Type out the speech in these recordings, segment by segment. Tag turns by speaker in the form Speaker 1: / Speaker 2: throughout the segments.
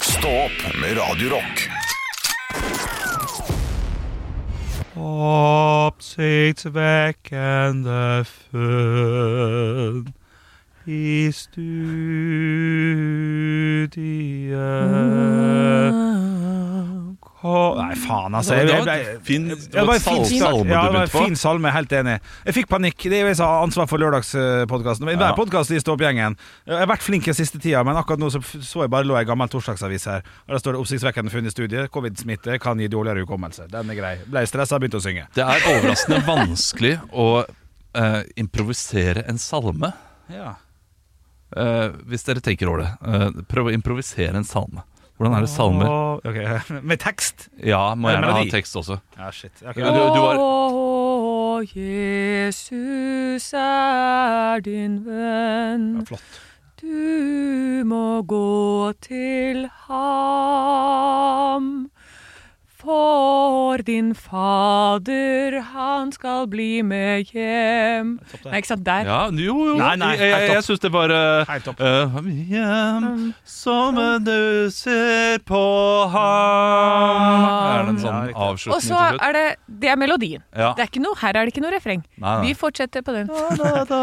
Speaker 1: Stå opp med Radio Rock.
Speaker 2: Oppsiktsvekkende funn i studiet Hå... Nei, faen, altså. Jeg, jeg, jeg,
Speaker 3: fin,
Speaker 2: det var en fin salme ja, det var en
Speaker 3: på.
Speaker 2: fin salme, jeg er helt enig. Jeg fikk panikk. Det er jo jeg som har ansvar for lørdagspodkasten. I hver
Speaker 3: Ja.
Speaker 2: podkast i Stå-opp-gjengen. Jeg har vært flink den siste tida, men akkurat nå så, f- så jeg bare lå i en gammel torsdagsavis her. Og Der står det 'Oppsiktsvekkende funn i studiet. Covid-smitte kan gi dårligere hukommelse'. Den er grei. Ble stressa, begynte å synge.
Speaker 3: Det er overraskende vanskelig å eh, improvisere en salme.
Speaker 2: Ja.
Speaker 3: Eh, hvis dere tenker over det. Eh, prøv å improvisere en salme. Hvordan er det salmer?
Speaker 2: Og- ok. Med tekst?
Speaker 3: Ja, må
Speaker 2: Eh,
Speaker 3: gjerne ha
Speaker 2: melodi.
Speaker 3: tekst også.
Speaker 2: Ja, shit. Ok.
Speaker 3: Men du, du var,
Speaker 4: Å, Jesus er din venn.
Speaker 2: Ja, flott.
Speaker 4: Du må gå til ham. For din fader, han skal bli med hjem.
Speaker 2: Topp
Speaker 4: Nei,
Speaker 2: der.
Speaker 4: ikke sant? Der.
Speaker 3: ja, jo, jo.
Speaker 2: Nei, nei, helt
Speaker 3: jeg jeg,
Speaker 2: topp.
Speaker 3: jeg syns det var eh,
Speaker 2: Helt topp.
Speaker 3: eh, Kom hjem
Speaker 4: Mm.
Speaker 3: som en du ser på ham Er det en
Speaker 2: Ja,
Speaker 3: sånn
Speaker 2: riktig.
Speaker 3: avslutning
Speaker 4: Og
Speaker 3: til
Speaker 4: så
Speaker 3: slutt?
Speaker 4: er det Det er melodien.
Speaker 3: Ja.
Speaker 4: Det er ikke noe, her er det ikke noe refreng.
Speaker 3: Nei, nei.
Speaker 4: Vi fortsetter på den.
Speaker 3: Da, da,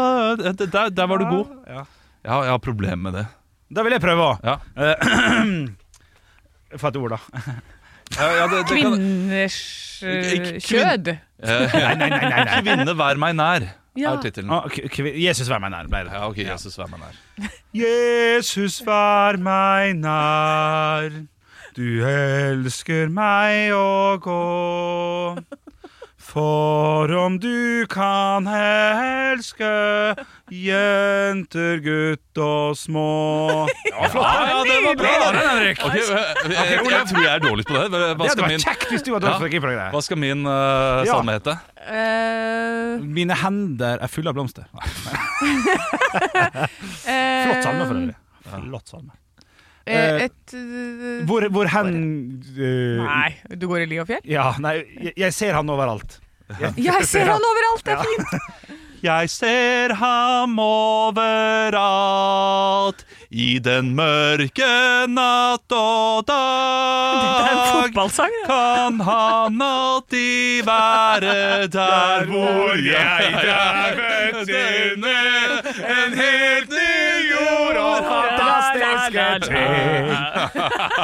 Speaker 3: da, der, der var du god.
Speaker 2: Ja.
Speaker 3: Jeg har, jeg har problemer med det.
Speaker 2: Da vil jeg prøve òg.
Speaker 3: Ja.
Speaker 2: Få et ord, da.
Speaker 4: Kvinners
Speaker 3: Ikke-
Speaker 4: eh,
Speaker 3: ikke kvinn-
Speaker 4: kjød.
Speaker 3: Eh,
Speaker 2: Nei, nei, nei. nei, nei.
Speaker 3: Kvinne, vær meg nær,
Speaker 4: Ja.
Speaker 3: er tittelen.
Speaker 2: Ah, k- kvi- Jesus, vær meg nær. Ble det.
Speaker 3: Ja, ok, Jesus, vær meg nær.
Speaker 2: Jesus, vær meg nær. Du elsker meg å gå. For om du kan elske jenter, gutt og små Ja,
Speaker 3: Ja, ja, det var bra.
Speaker 2: Nydelig, den, Henrik.
Speaker 3: Ok, jeg, jeg, jeg tror jeg er dårlig på det. Hva- Hva
Speaker 2: Det hadde
Speaker 3: skal
Speaker 2: vært
Speaker 3: min,
Speaker 2: kjekt hvis du hadde
Speaker 3: Ja.
Speaker 2: vært flink på det.
Speaker 3: hva skal min eh,
Speaker 2: Ja.
Speaker 3: salme hete?
Speaker 4: Eh,
Speaker 2: Mine hender er fulle av blomster.
Speaker 4: eh,
Speaker 2: Flott salme, for øvrig. Flott salme.
Speaker 4: eh,
Speaker 2: Eh,
Speaker 4: Et eh,
Speaker 2: Hvor, hvor hen eh,
Speaker 4: Nei, du går i li og fjell?
Speaker 2: Ja, nei, jeg, jeg ser han overalt.
Speaker 4: Jeg ser han overalt! Det er fint!
Speaker 3: Jeg ser ham overalt i den mørke natt og
Speaker 4: Det er en
Speaker 3: dag.
Speaker 4: fotballsang. det.
Speaker 3: Kan han alltid være der hvor jeg drømmer denne en helt ny jord og
Speaker 4: fantastiske ting.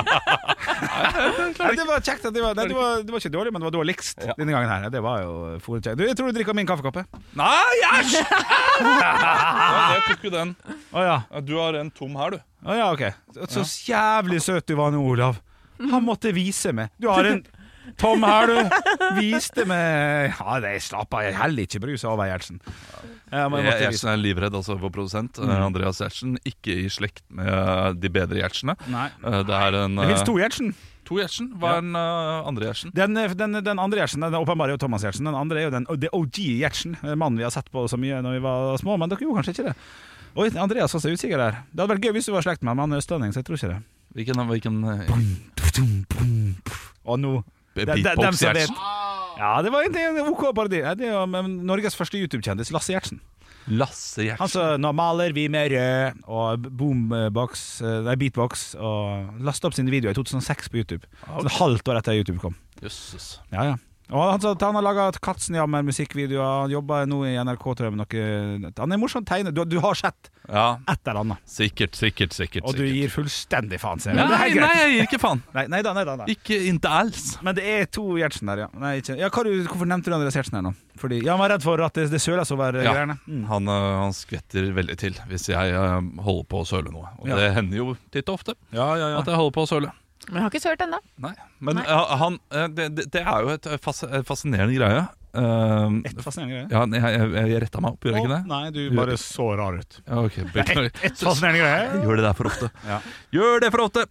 Speaker 2: Nei, det var kjekt. at Det var, nei, det, var, det var ikke dårlig, men det var dårligst denne gangen her. Det var jo fôret kjekt. Du, Jeg tror du drikker min kaffekoppe.
Speaker 3: Nei, æsj! Jeg tok jo den.
Speaker 2: Å ja.
Speaker 3: Ja, Du har en tom her, du.
Speaker 2: Å ja, ok. Så jævlig søt du var nå, Olav. Han måtte vise meg. Du har en tom her, du. Viste meg Ja, det slapp av. Jeg heller ikke brusa over Gjertsen. Ja, men jeg måtte vise. Mm.
Speaker 3: Gjertsen er livredd altså for produsent eh, Andreas Gjertsen. Ikke i slekt med eh, de bedre Gjertsene.
Speaker 2: Nei.
Speaker 3: Eh, Det er en
Speaker 2: Det
Speaker 3: eh,
Speaker 2: fins to Gjertsen.
Speaker 3: to Gjertsen. Hva er den eh, andre Gjertsen?
Speaker 2: Den, den, den andre Gjertsen den åpenbare er jo Thomas Gjertsen. Den andre er jo den, det OG Gjertsen. eh, Mannen vi har sett på så mye når vi var små, men dere gjorde kanskje ikke det. Oi, Andreas var så usikker der. Det hadde vært gøy hvis du var i slekt med ham, men han er østlending, så jeg tror ikke det.
Speaker 3: Hvilken, hvilken eh,
Speaker 2: Og nå dem- dem
Speaker 3: beatbox
Speaker 2: som vet.
Speaker 3: Gjertsen?
Speaker 2: Ja, det var egentlig en OK parodi. Ja, Det er jo men, Norges første YouTube-kjendis, Lasse Gjertsen.
Speaker 3: Lasse Gjertsen.
Speaker 2: Han som 'Nå maler vi med rød' og boombox, eh, nei, beatbox, og lasta opp sine videoer i 2006 på YouTube. Så et halvt år etter YouTube kom.
Speaker 3: Jøsses.
Speaker 2: Ja, ja. Og han, sa at han har laga Katzenjammer-musikkvideoer. Han jobber nå i NRK, tror jeg. Med noe. Han er morsom tegner. Du, du har sett
Speaker 3: Ja,
Speaker 2: et eller annet,
Speaker 3: sikkert, sikkert, sikkert.
Speaker 2: og du
Speaker 3: sikkert.
Speaker 2: gir fullstendig faen, ser jeg. Men det
Speaker 3: Nei,
Speaker 2: er
Speaker 3: nei,
Speaker 2: greit.
Speaker 3: jeg gir ikke faen.
Speaker 2: Nei, nei da, nei da. Nei.
Speaker 3: Ikke inte alls.
Speaker 2: Men det er to Gjertsen der, ja. Nei, ikke. ja hva, du- hvorfor nevnte du Andreas Gjertsen her nå? Fordi ja, Han var redd for at det, det søles over eh,
Speaker 3: Ja.
Speaker 2: greiene.
Speaker 3: Han, øh, han skvetter veldig til hvis jeg øh, holder på å søle noe. Og
Speaker 2: Ja.
Speaker 3: det hender jo titt og ofte
Speaker 2: Ja, ja,
Speaker 3: at jeg holder på å søle.
Speaker 4: Men jeg har ikke sølt ennå.
Speaker 3: Nei. Men
Speaker 4: Nei.
Speaker 3: øh, han, øh, det, det- det er jo et øh, fas øh, fascinerende greie. Ehm,
Speaker 2: Et fascinerende greie.
Speaker 3: ja, jeg, jeg, jeg retta meg opp, gjør jeg ikke det?
Speaker 2: Å, Nei, du bare så rar ut.
Speaker 3: Ja, ok, beklager.
Speaker 2: Et fascinerende greie.
Speaker 3: Gjør det der for ofte.
Speaker 2: Ja.
Speaker 3: Gjør det for ofte!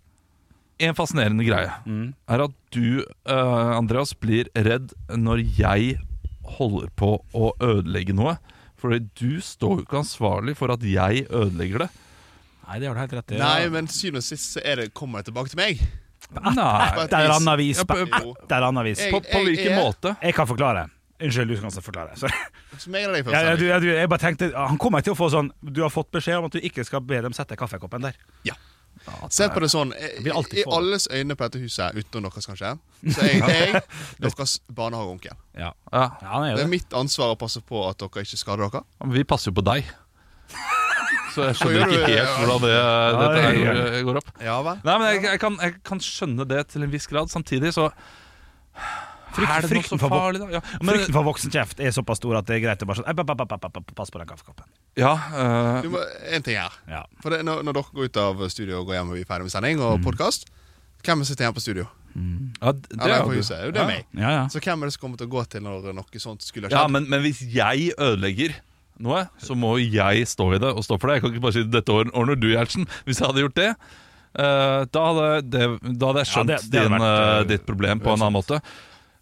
Speaker 3: En fascinerende greie
Speaker 2: Mm.
Speaker 3: er at du, øh, Andreas, blir redd når jeg holder på å ødelegge noe. Fordi du står jo ikke ansvarlig for at jeg ødelegger det.
Speaker 2: Nei, det har du helt rett i.
Speaker 5: Nei, men syvende og sist så er det, kommer det tilbake til meg.
Speaker 3: Nei.
Speaker 5: På
Speaker 2: Et
Speaker 5: et
Speaker 2: eller
Speaker 5: vis.
Speaker 2: annet vis.
Speaker 3: Ja, på-
Speaker 2: på- Et eller annet vis.
Speaker 3: På, på
Speaker 5: Jeg-
Speaker 3: hvilken
Speaker 5: jeg-
Speaker 3: måte?
Speaker 2: Jeg kan forklare. Unnskyld, du skal også forklare. Sorry.
Speaker 5: Så meg eller deg først.
Speaker 2: Ja, ja, du,
Speaker 5: Henrik.
Speaker 2: ja, du, jeg bare tenkte, han kommer til å få sånn Du har fått beskjed om at du ikke skal be dem sette kaffekoppen der.
Speaker 5: Ja. Sett på det sånn,
Speaker 2: vil alltid
Speaker 5: i
Speaker 2: få det.
Speaker 5: alles øyne på dette huset, utenom deres kanskje, så er jeg, jeg deres barnehageonkel.
Speaker 2: Ja,
Speaker 3: Ja,
Speaker 2: ja han er jo
Speaker 5: Det
Speaker 2: det.
Speaker 5: er mitt ansvar å passe på at dere ikke skader dere.
Speaker 3: men vi passer jo på deg. Så jeg skjønner
Speaker 5: gjør du-
Speaker 3: ikke helt hvordan det, dette
Speaker 2: det
Speaker 3: her eh,
Speaker 2: gjør
Speaker 3: går- går opp.
Speaker 5: Ja vel?
Speaker 3: Nei, men jeg, jeg, kan, jeg kan skjønne det til en viss grad. Samtidig så
Speaker 2: Frykt-
Speaker 3: Er det noe
Speaker 2: frykten
Speaker 3: så
Speaker 2: for vok-
Speaker 3: farlig, da? Ja, men,
Speaker 2: Frykten for voksen kjeft er såpass stor at det er greit å bare sånn «Ei, ba, ba, ba, ba, ba, Pass på den kaffekoppen.
Speaker 3: ja,
Speaker 5: Du
Speaker 3: eh,
Speaker 5: må, en ting her.
Speaker 2: Ja.
Speaker 5: For det, når, når dere går ut av studio og går hjem og vi er ferdig med sending
Speaker 2: Mm.
Speaker 5: og podkast, hvem er sitter igjen på studio?
Speaker 3: ja, det
Speaker 5: Eller
Speaker 3: er
Speaker 5: på
Speaker 3: jo
Speaker 5: huset? Jo, det er meg.
Speaker 2: Ja, ja.
Speaker 5: Så hvem er det som kommer til å gå til når noe sånt skulle ha
Speaker 3: Ja,
Speaker 5: skjedd?
Speaker 3: men, men hvis jeg ødelegger noe, så må jo jeg stå i det og stå for det. Jeg kan ikke bare si 'dette ordn- ordner du, Gjertsen'. Hvis jeg hadde gjort det, eh, da, hadde det da hadde jeg
Speaker 2: Ja,
Speaker 3: skjønt
Speaker 2: det- det hadde
Speaker 3: din,
Speaker 2: vært,
Speaker 3: eh,
Speaker 2: eh,
Speaker 3: ditt problem på en annen måte.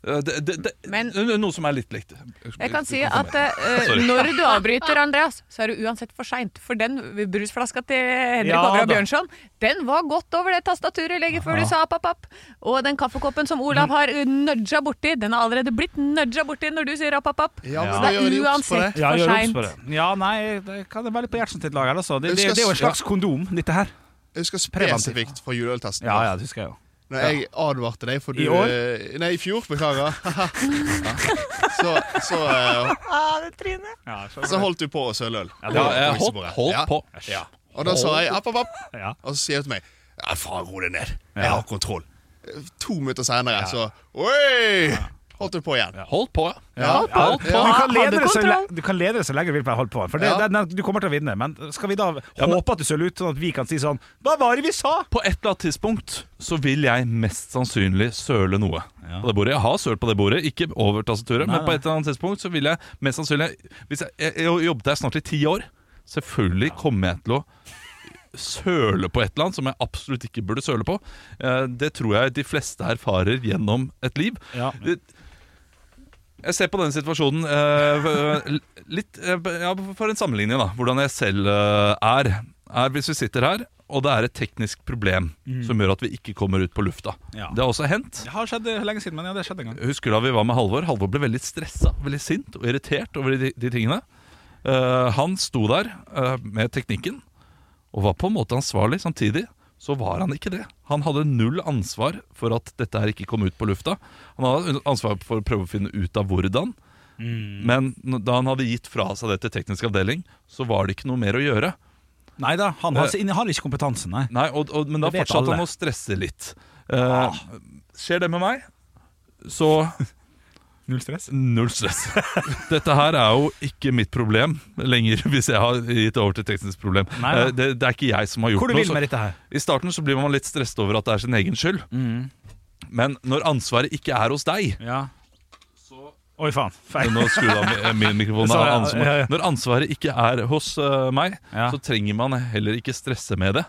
Speaker 3: Eh, det, det, det,
Speaker 4: Men-
Speaker 3: noe som er litt likt.
Speaker 4: Jeg kan si
Speaker 3: komme
Speaker 4: at eh,
Speaker 3: Sorry.
Speaker 4: når du avbryter Andreas, så er det uansett for seint. For den brusflaska til Henrik
Speaker 2: Ja,
Speaker 4: Overhaug
Speaker 2: da.
Speaker 4: Bjørnson, den var godt over det tastaturet lenge før du sa app, app, app. Og den kaffekoppen som Olav har eh, nudga borti, den har allerede blitt nudga borti når du sier app, app, app.
Speaker 5: Ja,
Speaker 2: Ja.
Speaker 4: Det
Speaker 5: men da
Speaker 4: er
Speaker 5: gjør de obs på
Speaker 4: uansett.
Speaker 5: det.
Speaker 2: Ja,
Speaker 4: For
Speaker 2: gjør obs
Speaker 4: sent.
Speaker 2: på det. ja, nei, det kan det være litt på Gjertsen sitt lag her, altså. Det,
Speaker 5: Jeg
Speaker 2: det,
Speaker 5: husker-
Speaker 2: det er jo en slags kondom, dette her.
Speaker 5: Jeg husker
Speaker 2: Preventivt.
Speaker 5: spesifikt fra juleøltesten.
Speaker 2: Ja, ja, det husker jeg jo.
Speaker 5: Når jeg advarte deg for du,
Speaker 2: I år?
Speaker 5: eh, Nei, i fjor, beklager. så, så, eh,
Speaker 2: Ja,
Speaker 5: så holdt du på å søle øl.
Speaker 3: Ja, jeg
Speaker 5: På
Speaker 3: holdt,
Speaker 5: miksebordet.
Speaker 3: holdt
Speaker 5: Ja.
Speaker 3: på.
Speaker 2: Ja.
Speaker 5: Og da sa jeg app, app, app.
Speaker 2: Ja.
Speaker 5: Og så sier du til meg Ja, faen, ro deg ned. Jeg
Speaker 2: Ja.
Speaker 5: har kontroll. To minutter senere så Oi! Holdt du på igjen.
Speaker 3: Holdt på, ja.
Speaker 5: Ja.
Speaker 2: Ja,
Speaker 3: Holdt på.
Speaker 2: Du,
Speaker 4: Har
Speaker 2: kan
Speaker 4: du
Speaker 2: lede det så,
Speaker 4: kontroll?
Speaker 2: le- du kan lede det så lenge du vil på holde på. For det,
Speaker 5: Ja.
Speaker 2: den- den- du kommer til å vinne. Men skal vi da håpe at du ser ut, sånn at vi kan si sånn Hva var det vi sa?!
Speaker 3: På et eller annet tidspunkt så vil jeg mest sannsynlig søle noe på det bordet. Jeg har sølt på det bordet, ikke over tastaturet, men på et eller annet tidspunkt så vil jeg mest sannsynlig Hvis jeg, jeg, jeg jobbet her snart i ti år, selvfølgelig kommer jeg til å søle på et eller annet som jeg absolutt ikke burde søle på. Eh, Det tror jeg de fleste erfarer gjennom et liv.
Speaker 2: Ja.
Speaker 3: Det- Jeg ser på denne situasjonen eh, v- litt eh, b- ja, for en sammenligning, da. Hvordan jeg selv eh, er. er hvis vi sitter her, og det er et teknisk problem som gjør at vi ikke kommer ut på lufta.
Speaker 2: Ja.
Speaker 3: Det har også hendt.
Speaker 2: Det har skjedd lenge siden, men ja, det skjedde en gang.
Speaker 3: Jeg husker da vi var med Halvor. Halvor ble veldig stressa, veldig sint og irritert over de, de tingene. Eh, han sto der eh, med teknikken og var på en måte ansvarlig. Samtidig så var han ikke det. Han hadde null ansvar for at dette her ikke kom ut på lufta. Han hadde ansvar for å prøve å finne ut av hvordan.
Speaker 2: Mm.
Speaker 3: Men n- da han hadde gitt fra seg det til teknisk avdeling, så var det ikke noe mer å gjøre.
Speaker 2: Nei da, han har, han har ikke kompetansen, nei.
Speaker 3: Nei, og, og, Men da
Speaker 2: Det vet
Speaker 3: fortsatte
Speaker 2: alle. Ah.
Speaker 3: han å stresse litt. Eh, Skjer det med meg, så
Speaker 2: Null stress.
Speaker 3: Null stress. Dette her er jo ikke mitt problem lenger, hvis jeg har gitt det over til teknisk problem.
Speaker 2: Nei, nei.
Speaker 3: Eh, Det, det er ikke jeg som har
Speaker 2: Hvor
Speaker 3: gjort
Speaker 2: du
Speaker 3: noe.
Speaker 2: vil med dette her?
Speaker 3: så I starten så blir man litt stresset over at det er sin egen skyld.
Speaker 2: Mm.
Speaker 3: Men når ansvaret ikke er hos deg
Speaker 2: Ja. Oi, faen. Feil.
Speaker 3: Nå skrur jeg av mi- eh, min mikrofon.
Speaker 2: Så, ja,
Speaker 3: Anne som-
Speaker 2: ja, ja.
Speaker 3: Når ansvaret ikke er hos eh, meg,
Speaker 2: Ja.
Speaker 3: så trenger man heller ikke stresse med det.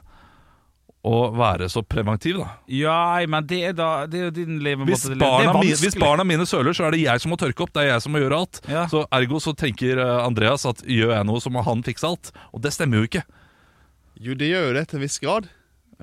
Speaker 3: Og være så preventiv, da.
Speaker 2: Ja, men det er da Det er jo din levemåte.
Speaker 3: Hvis
Speaker 2: det er
Speaker 3: barna, mine,
Speaker 2: vanskelig.
Speaker 3: hvis barna mine søler, så er det jeg som må tørke opp. Det er jeg som må gjøre alt.
Speaker 2: Ja.
Speaker 3: Så Ergo så tenker eh, Andreas at gjør jeg noe, så må han fikse alt. Og det stemmer jo ikke.
Speaker 5: Jo, det gjør jo det til en viss grad.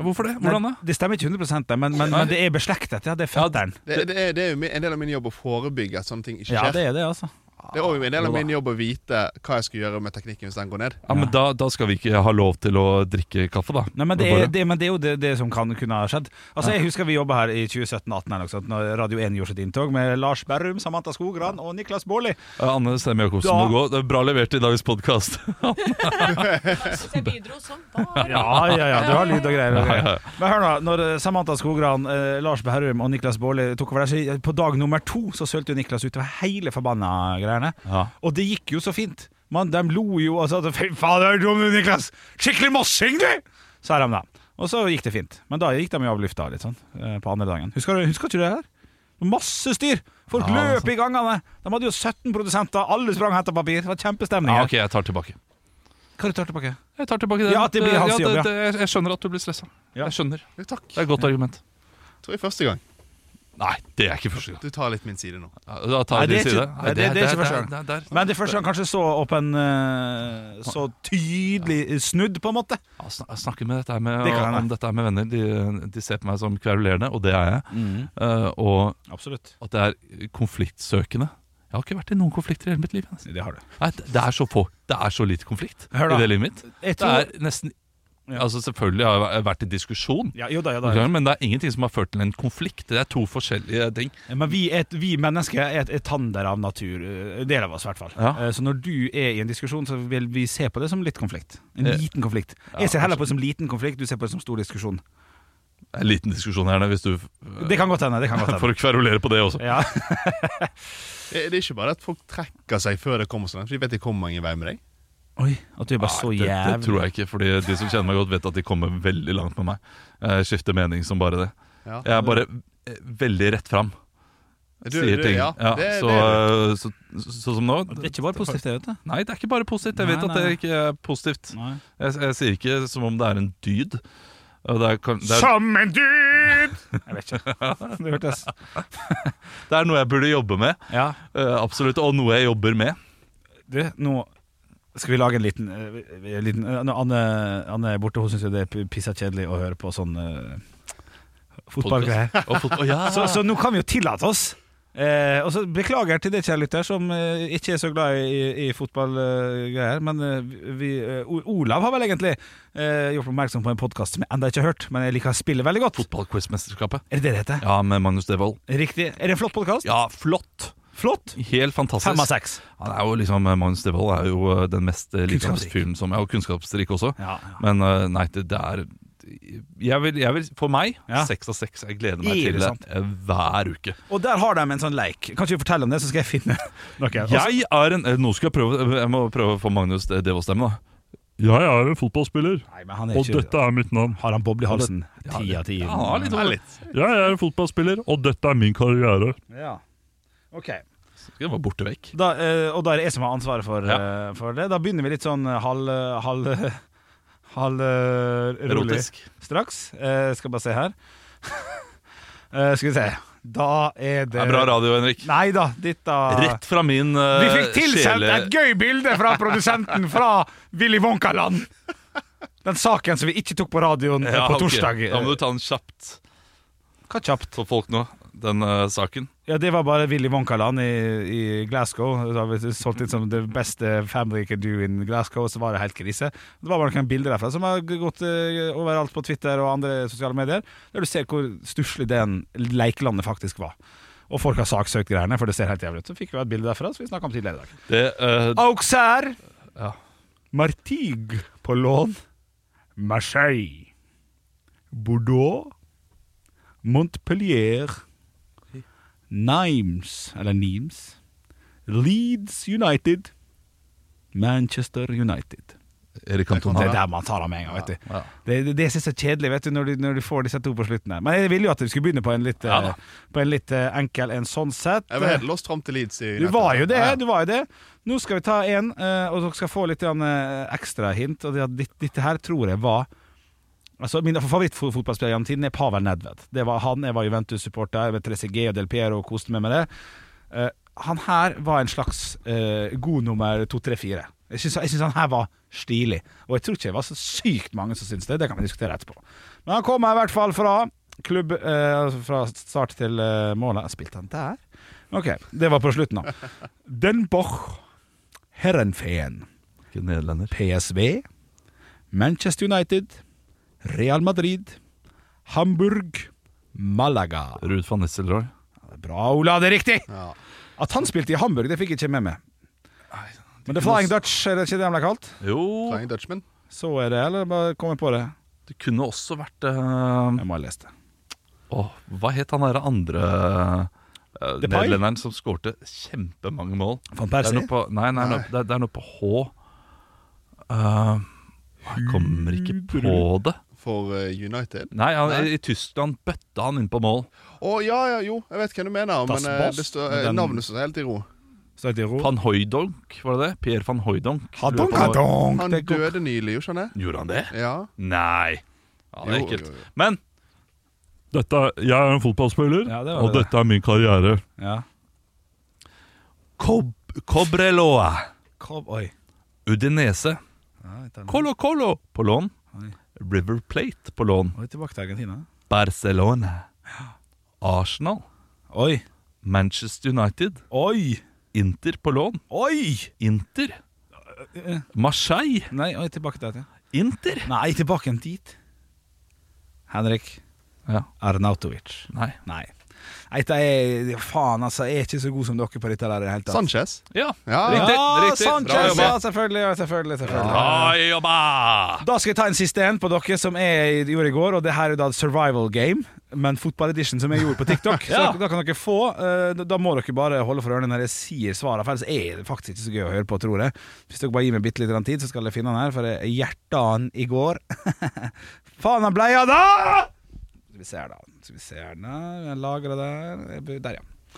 Speaker 3: Hvorfor det? Hvordan da?
Speaker 2: Nei, Det stemmer ikke 100 det, men, men, men det er beslektet. Ja, det er fetteren.
Speaker 5: Det, det, er, det er jo mi- en del av min jobb å forebygge at sånne ting ikke
Speaker 2: Ja,
Speaker 5: skjer.
Speaker 2: det er det, altså.
Speaker 5: Det er også en del av
Speaker 3: Jo da.
Speaker 5: min jobb å vite hva jeg skal gjøre med teknikken hvis den går ned.
Speaker 3: Ja, men da, da skal vi ikke ha lov til å drikke kaffe, da.
Speaker 2: Nei, men det,
Speaker 3: Bare-
Speaker 2: er, det, men det er jo det, det som kan kunne ha skjedd. Altså, Jeg husker vi jobba her i 2017-2018, eller noe sånt, når Radio 1 gjorde sitt inntog med Lars Berrum, Samantha Skogran og Niklas Baarli.
Speaker 3: Eh, Anne Stemme Jacobsen
Speaker 2: Da-
Speaker 3: må gå. Det er bra levert i dagens podkast.
Speaker 4: Jeg bidro som bare
Speaker 2: Ja, ja, ja, du har lyd og greier. og
Speaker 3: Ja, ja, ja.
Speaker 2: greier. Men hør nå, når eh, Samantha Skogran, eh, Lars Berrum og Niklas Baarli tok over der, så i- eh, på dag nummer to så sølte jo Niklas utover hele forbanna greiene.
Speaker 3: Ja.
Speaker 2: Og det gikk jo så fint. Man, de lo jo og sa at, Fy faen, du er dum, du, Niklas! Skikkelig mossing, du! Sa de da. Og så gikk det fint. Men da gikk de jo av lufta litt sånn eh, på andre dagen. Husker, du- husker ikke du det her? Masse styr! Folk
Speaker 3: Ja, altså.
Speaker 2: løp
Speaker 3: sant.
Speaker 2: i gangene. De hadde jo 17 produsenter, alle sprang og henta papir. Det var kjempestemning.
Speaker 3: Ja,
Speaker 2: her.
Speaker 3: ok, jeg tar tilbake.
Speaker 2: Hva har du tar tilbake?
Speaker 3: Jeg tar tilbake det.
Speaker 2: Ja, at det blir hans jobb, ja.
Speaker 3: det, det, jeg skjønner at du blir stressa.
Speaker 2: Ja.
Speaker 3: Jeg skjønner.
Speaker 5: Jo, takk.
Speaker 3: Det er et godt argument.
Speaker 5: Tror jeg første gang.
Speaker 3: Nei, det er ikke første gang.
Speaker 5: Du tar litt min side nå.
Speaker 3: Ja, Da
Speaker 2: Nei,
Speaker 3: tar vi
Speaker 2: det er
Speaker 3: din side.
Speaker 2: ikke- det- det er ikke første gang.
Speaker 3: der- der-
Speaker 2: Men det er første gang kanskje så åpen eh, Så tydelig snudd, på en måte.
Speaker 3: Ja, sn- Jeg snakker med dette her med,
Speaker 2: Det kan hende.
Speaker 3: om dette her med venner. De, de ser på meg som kverulerende, og det er jeg.
Speaker 2: Mm-hmm.
Speaker 3: Eh, og
Speaker 2: Absolutt.
Speaker 3: at det er konfliktsøkende. Jeg har ikke vært i noen konflikter i hele mitt liv. nesten.
Speaker 2: Det har du.
Speaker 3: Nei, det det er så få. Det er så lite konflikt
Speaker 2: Hør da.
Speaker 3: i det livet mitt.
Speaker 2: Jeg
Speaker 3: Det
Speaker 2: tror,
Speaker 3: er nesten Altså Selvfølgelig har jeg vært i diskusjon,
Speaker 2: Ja, jo da, jo da.
Speaker 3: Ok, men det er ingenting som har ført til en konflikt. Det er to forskjellige ting.
Speaker 2: Ja, Men vi, er et, vi mennesker er et etander av natur. eh, En del av oss, i hvert fall.
Speaker 3: Ja.
Speaker 2: Eh, Så når du er i en diskusjon, så vil vi se på det som litt konflikt. En
Speaker 3: Eh,
Speaker 2: liten konflikt.
Speaker 3: ja,
Speaker 2: Jeg ser heller på det som liten konflikt, du ser på det som stor diskusjon.
Speaker 3: Det er En liten diskusjon her, da, hvis du
Speaker 2: Det kan godt hende. det kan godt
Speaker 3: For
Speaker 2: hende
Speaker 3: å kverulere på det også.
Speaker 2: ja.
Speaker 5: Det, det er ikke bare at folk trekker seg før det kommer sånn, for de vet de kommer ingen vei med deg.
Speaker 2: Oi, at du er bare så
Speaker 3: Nei, det, det
Speaker 2: jævlig
Speaker 3: tror jeg ikke, Fordi de som kjenner meg godt, vet at de kommer veldig langt med meg. Eh, Jeg skifter mening som bare det.
Speaker 5: Ja.
Speaker 3: Jeg er bare eh, veldig rett fram.
Speaker 5: Du-
Speaker 3: sier
Speaker 5: du-
Speaker 3: ting.
Speaker 5: ja,
Speaker 3: Ja,
Speaker 5: det-
Speaker 3: så,
Speaker 5: det
Speaker 3: eh, så, så, sånn som nå
Speaker 2: Det er ikke bare positivt, det, vet du.
Speaker 3: Nei, det er ikke bare positivt. Jeg
Speaker 2: Nei,
Speaker 3: vet at
Speaker 2: nei,
Speaker 3: det
Speaker 2: nei.
Speaker 3: ikke er positivt. Jeg, jeg sier ikke som om det er en dyd. Og Det er, kan- det, er,
Speaker 2: Som en dyd! Jeg vet ikke. Det hørtes
Speaker 3: det er noe jeg burde jobbe med,
Speaker 2: Ja,
Speaker 3: eh, absolutt, og noe jeg jobber med.
Speaker 2: du, nå skal vi lage en liten, eh, liten eh, nå, Anne, Anne er borte, hun syns det er pissa kjedelig å høre på sånn uh, fotballgreier.
Speaker 3: Og fot å, ja.
Speaker 2: Så, så nå kan vi jo tillate oss. Eh, og så Beklager til det, kjære lytter, som eh, ikke er så glad i, i, i fotballgreier. men eh, vi, eh, O- Olav har vel egentlig eh, gjort oppmerksom på en podkast som jeg enda ikke har hørt, men jeg liker spillet veldig godt.
Speaker 3: Fotballquiz-mesterskapet.
Speaker 2: Er det det det heter?
Speaker 3: Ja, med Magnus Devold.
Speaker 2: Riktig. Er det en flott podkast?
Speaker 3: Ja, flott!
Speaker 2: Flott.
Speaker 3: Helt fantastisk.
Speaker 2: Fem av seks.
Speaker 3: Han er jo liksom, Magnus Devold er jo eh, den mest eh,
Speaker 2: Kunnskapsrik.
Speaker 3: likeomsfyren som er, og kunnskapsrik også.
Speaker 2: Ja,
Speaker 3: Men eh, nei, det, det er jeg vil, jeg vil, For meg,
Speaker 2: Ja.
Speaker 3: seks av seks. Jeg gleder meg
Speaker 2: Er det
Speaker 3: til det
Speaker 2: sant?
Speaker 3: eh, hver uke.
Speaker 2: Og der har de en sånn leik. Kan ikke du fortelle om det, så skal jeg finne noe?
Speaker 3: Jeg er en eh, Nå skal jeg prøve Jeg må prøve å få Magnus Devold-stemme, da. Jeg er en fotballspiller,
Speaker 2: Nei, men han er ikke
Speaker 3: er mitt navn.
Speaker 2: Har han boble i halsen?
Speaker 3: Ja,
Speaker 2: Ti av ti.
Speaker 3: Ja, han har litt,
Speaker 5: Ja, litt.
Speaker 3: Jeg er en fotballspiller, og dette er min karriere.
Speaker 2: Ja. Ok.
Speaker 3: Skal jeg bare borte vekk.
Speaker 2: Da, eh, og da er det jeg som har ansvaret for, eh, for det. Da begynner vi litt sånn eh, halv halv, halv eh, rolig
Speaker 3: Erotisk.
Speaker 2: straks. Eh, skal bare se her. Eh, skal vi se. Da er det
Speaker 3: Det er bra radio, Henrik.
Speaker 2: Nei da, dette
Speaker 3: Rett fra min uh,
Speaker 2: Vi fikk tilsendt et gøy bilde fra produsenten fra Willy Wonka-land! Den saken som vi ikke tok på radioen eh, på torsdag.
Speaker 3: Da må du ta den kjapt
Speaker 2: Hva kjapt?
Speaker 3: for folk nå, den eh, saken.
Speaker 2: Ja, det var bare Willy Wonka-land i, i Glasgow. Da vi solgt inn som det beste family can do in Glasgow, så var det helt krise. Det var bare noen bilder derfra som har gått eh, overalt på Twitter og andre sosiale medier, der du ser hvor stusslig den lekelandet faktisk var. Og folk har saksøkt greiene, for det ser helt jævlig ut. Så fikk vi et bilde derfra, som vi snakka om tidligere i dag.
Speaker 3: Det, eh,
Speaker 2: Ah. Auxerre.
Speaker 3: Ja.
Speaker 2: Martigue på lån. Marseille. Bordeaux. Montpellier. Nimes, eller Nimes. Leeds United. Manchester United.
Speaker 3: Erik
Speaker 2: Det er
Speaker 3: Cantona.
Speaker 2: der man tar av med en gang. vet du
Speaker 3: Ja.
Speaker 2: Det, det, det synes jeg er kjedelig vet du når, du når du får disse to på slutten. her Men jeg ville jo at vi skulle begynne på en litt, eh,
Speaker 3: Ja da.
Speaker 2: på en litt eh, enkel en sånn sett.
Speaker 5: Jeg var helt lost fram til Leeds. i
Speaker 2: Du
Speaker 5: nettet.
Speaker 2: var jo det,
Speaker 5: Ja, ja.
Speaker 2: du var jo det. Nå skal vi ta en, eh, og dere skal få litt grann, eh, ekstra hint. Og det, at ditt- dette her tror jeg var Altså, Min favorittfotballspiller gjennom tiden er Pavel Nedved. Det var han, Jeg var Juventus-supporter med 3CG og Del Piero og koste meg med det. Eh, han her var en slags eh, god nummer to, tre, fire. Jeg syns jeg syns han her var stilig. Og jeg tror ikke det var så sykt mange som syntes det. Det kan vi diskutere etterpå. Men han kommer i hvert fall fra klubb eh, altså Fra start til eh, målet. Spilte han der? Ok, det var på slutten, da. Den Boch, Herrenfeen,
Speaker 3: Ikke nederlender.
Speaker 2: PSV, Manchester United, Real Madrid, Hamburg, Malaga.
Speaker 3: Ruud van Nistelrooy.
Speaker 2: Bra, Ola, det er riktig!
Speaker 5: Ja.
Speaker 2: At han spilte i Hamburg, det fikk jeg ikke med meg. Men The Flying Dutch, er det ikke det han ble kalt?
Speaker 3: Jo
Speaker 5: Flying Dutchman.
Speaker 2: Så er det, eller bare kom jeg på det?
Speaker 3: Det kunne også vært eh,
Speaker 2: Jeg må ha lest det.
Speaker 3: åh, Hva het han derre andre eh,
Speaker 2: Depay?
Speaker 3: nederlenderen som skårte kjempemange mål?
Speaker 2: Van
Speaker 3: Det er
Speaker 2: Persie?
Speaker 3: noe på, nei, nei, noe- det, er- det er noe på H. Eh, jeg kommer ikke på det.
Speaker 5: for eh, United.
Speaker 3: Nei, han, i Tyskland bøtta han inn på mål.
Speaker 5: Å ja, ja, jo, jeg vet hva du mener,
Speaker 2: Das
Speaker 5: men eh,
Speaker 2: Boss?
Speaker 5: det står, eh,
Speaker 3: Den-
Speaker 5: navnet står helt i ro.
Speaker 2: Står det i ro?
Speaker 3: Van Hooijdonk, var det det? Per van Hooijdonk.
Speaker 2: Hadonk,
Speaker 3: Lurer på-
Speaker 2: hadonk!
Speaker 5: Han
Speaker 2: Det går-
Speaker 5: døde nylig, gjorde han det?
Speaker 3: Gjorde han det?
Speaker 5: Ja.
Speaker 3: Nei. Ja, det er
Speaker 5: Jo,
Speaker 3: ekkelt.
Speaker 5: jo, jo.
Speaker 3: Men Jeg er en fotballspiller,
Speaker 2: Ja, det var og det.
Speaker 3: dette er min karriere.
Speaker 2: Ja.
Speaker 3: Cob Cobreloa,
Speaker 2: Kom, oi.
Speaker 3: Udinese,
Speaker 2: Ja, jeg tar den.
Speaker 3: Colo Colo på lån.
Speaker 2: Oi.
Speaker 3: River Plate på lån.
Speaker 2: Oi, tilbake til Argentina.
Speaker 3: Barcelona. Arsenal.
Speaker 2: Oi.
Speaker 3: Manchester United.
Speaker 2: Oi!
Speaker 3: Inter på lån.
Speaker 2: Oi! Eh,
Speaker 3: Inter. Marseille.
Speaker 2: Nei, oi, tilbake der. Ja.
Speaker 3: Inter?
Speaker 2: Nei, tilbake igjen dit. Henrik
Speaker 3: Ja.
Speaker 2: Arnautovic.
Speaker 3: Nei.
Speaker 2: Nei. Nei, det er, faen, altså, jeg er ikke så god som dere på dette der i det hele tatt.
Speaker 5: Sanchez.
Speaker 3: Ja.
Speaker 5: Ja,
Speaker 3: Riktig.
Speaker 2: Ja,
Speaker 3: riktig. Bra
Speaker 2: Sanchez,
Speaker 3: jobba.
Speaker 2: ja, selvfølgelig. Ja, selvfølgelig, selvfølgelig.
Speaker 3: Bra jobba!
Speaker 2: Da skal jeg ta en siste en på dere som jeg gjorde i går. Og det her er da survival game, men fotball edition, som jeg gjorde på TikTok.
Speaker 3: Ja.
Speaker 2: Så da kan dere få. eh, Da da må dere bare holde for ørene når jeg sier svarene, for ellers er det faktisk ikke så gøy å høre på, tror jeg. Hvis dere bare gir meg bitte litt grann tid, så skal jeg finne den her, for jeg hjerta han i går. Faen, han bleia da! Skal vi se her, da. Skal vi se her, da. Jeg lagrer der. Jeg bør- Der, ja.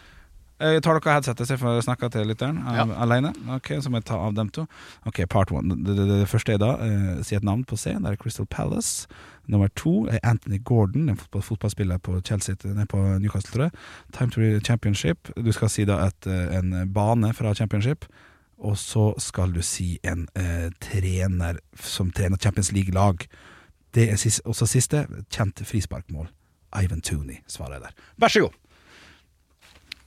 Speaker 2: Eh, Tar dere headsetet, så jeg får snakke til lytteren eh,
Speaker 5: Ja.
Speaker 2: alene? Ok, så må jeg ta av dem to. Ok, part one. Det, det, det første er da eh, Si et navn på C. Det er Crystal Palace. Nummer to er Anthony Gordon, en fotball, fotballspiller på Chelsea Nei, på Newcastle, tror jeg. Time to read championship. Du skal si da et, eh, en bane fra championship. Og så skal du si en eh, trener som trener Champions League-lag. Det er sist, også siste. Kjent frisparkmål. Ivan Tooney, svarer jeg der. Vær så god!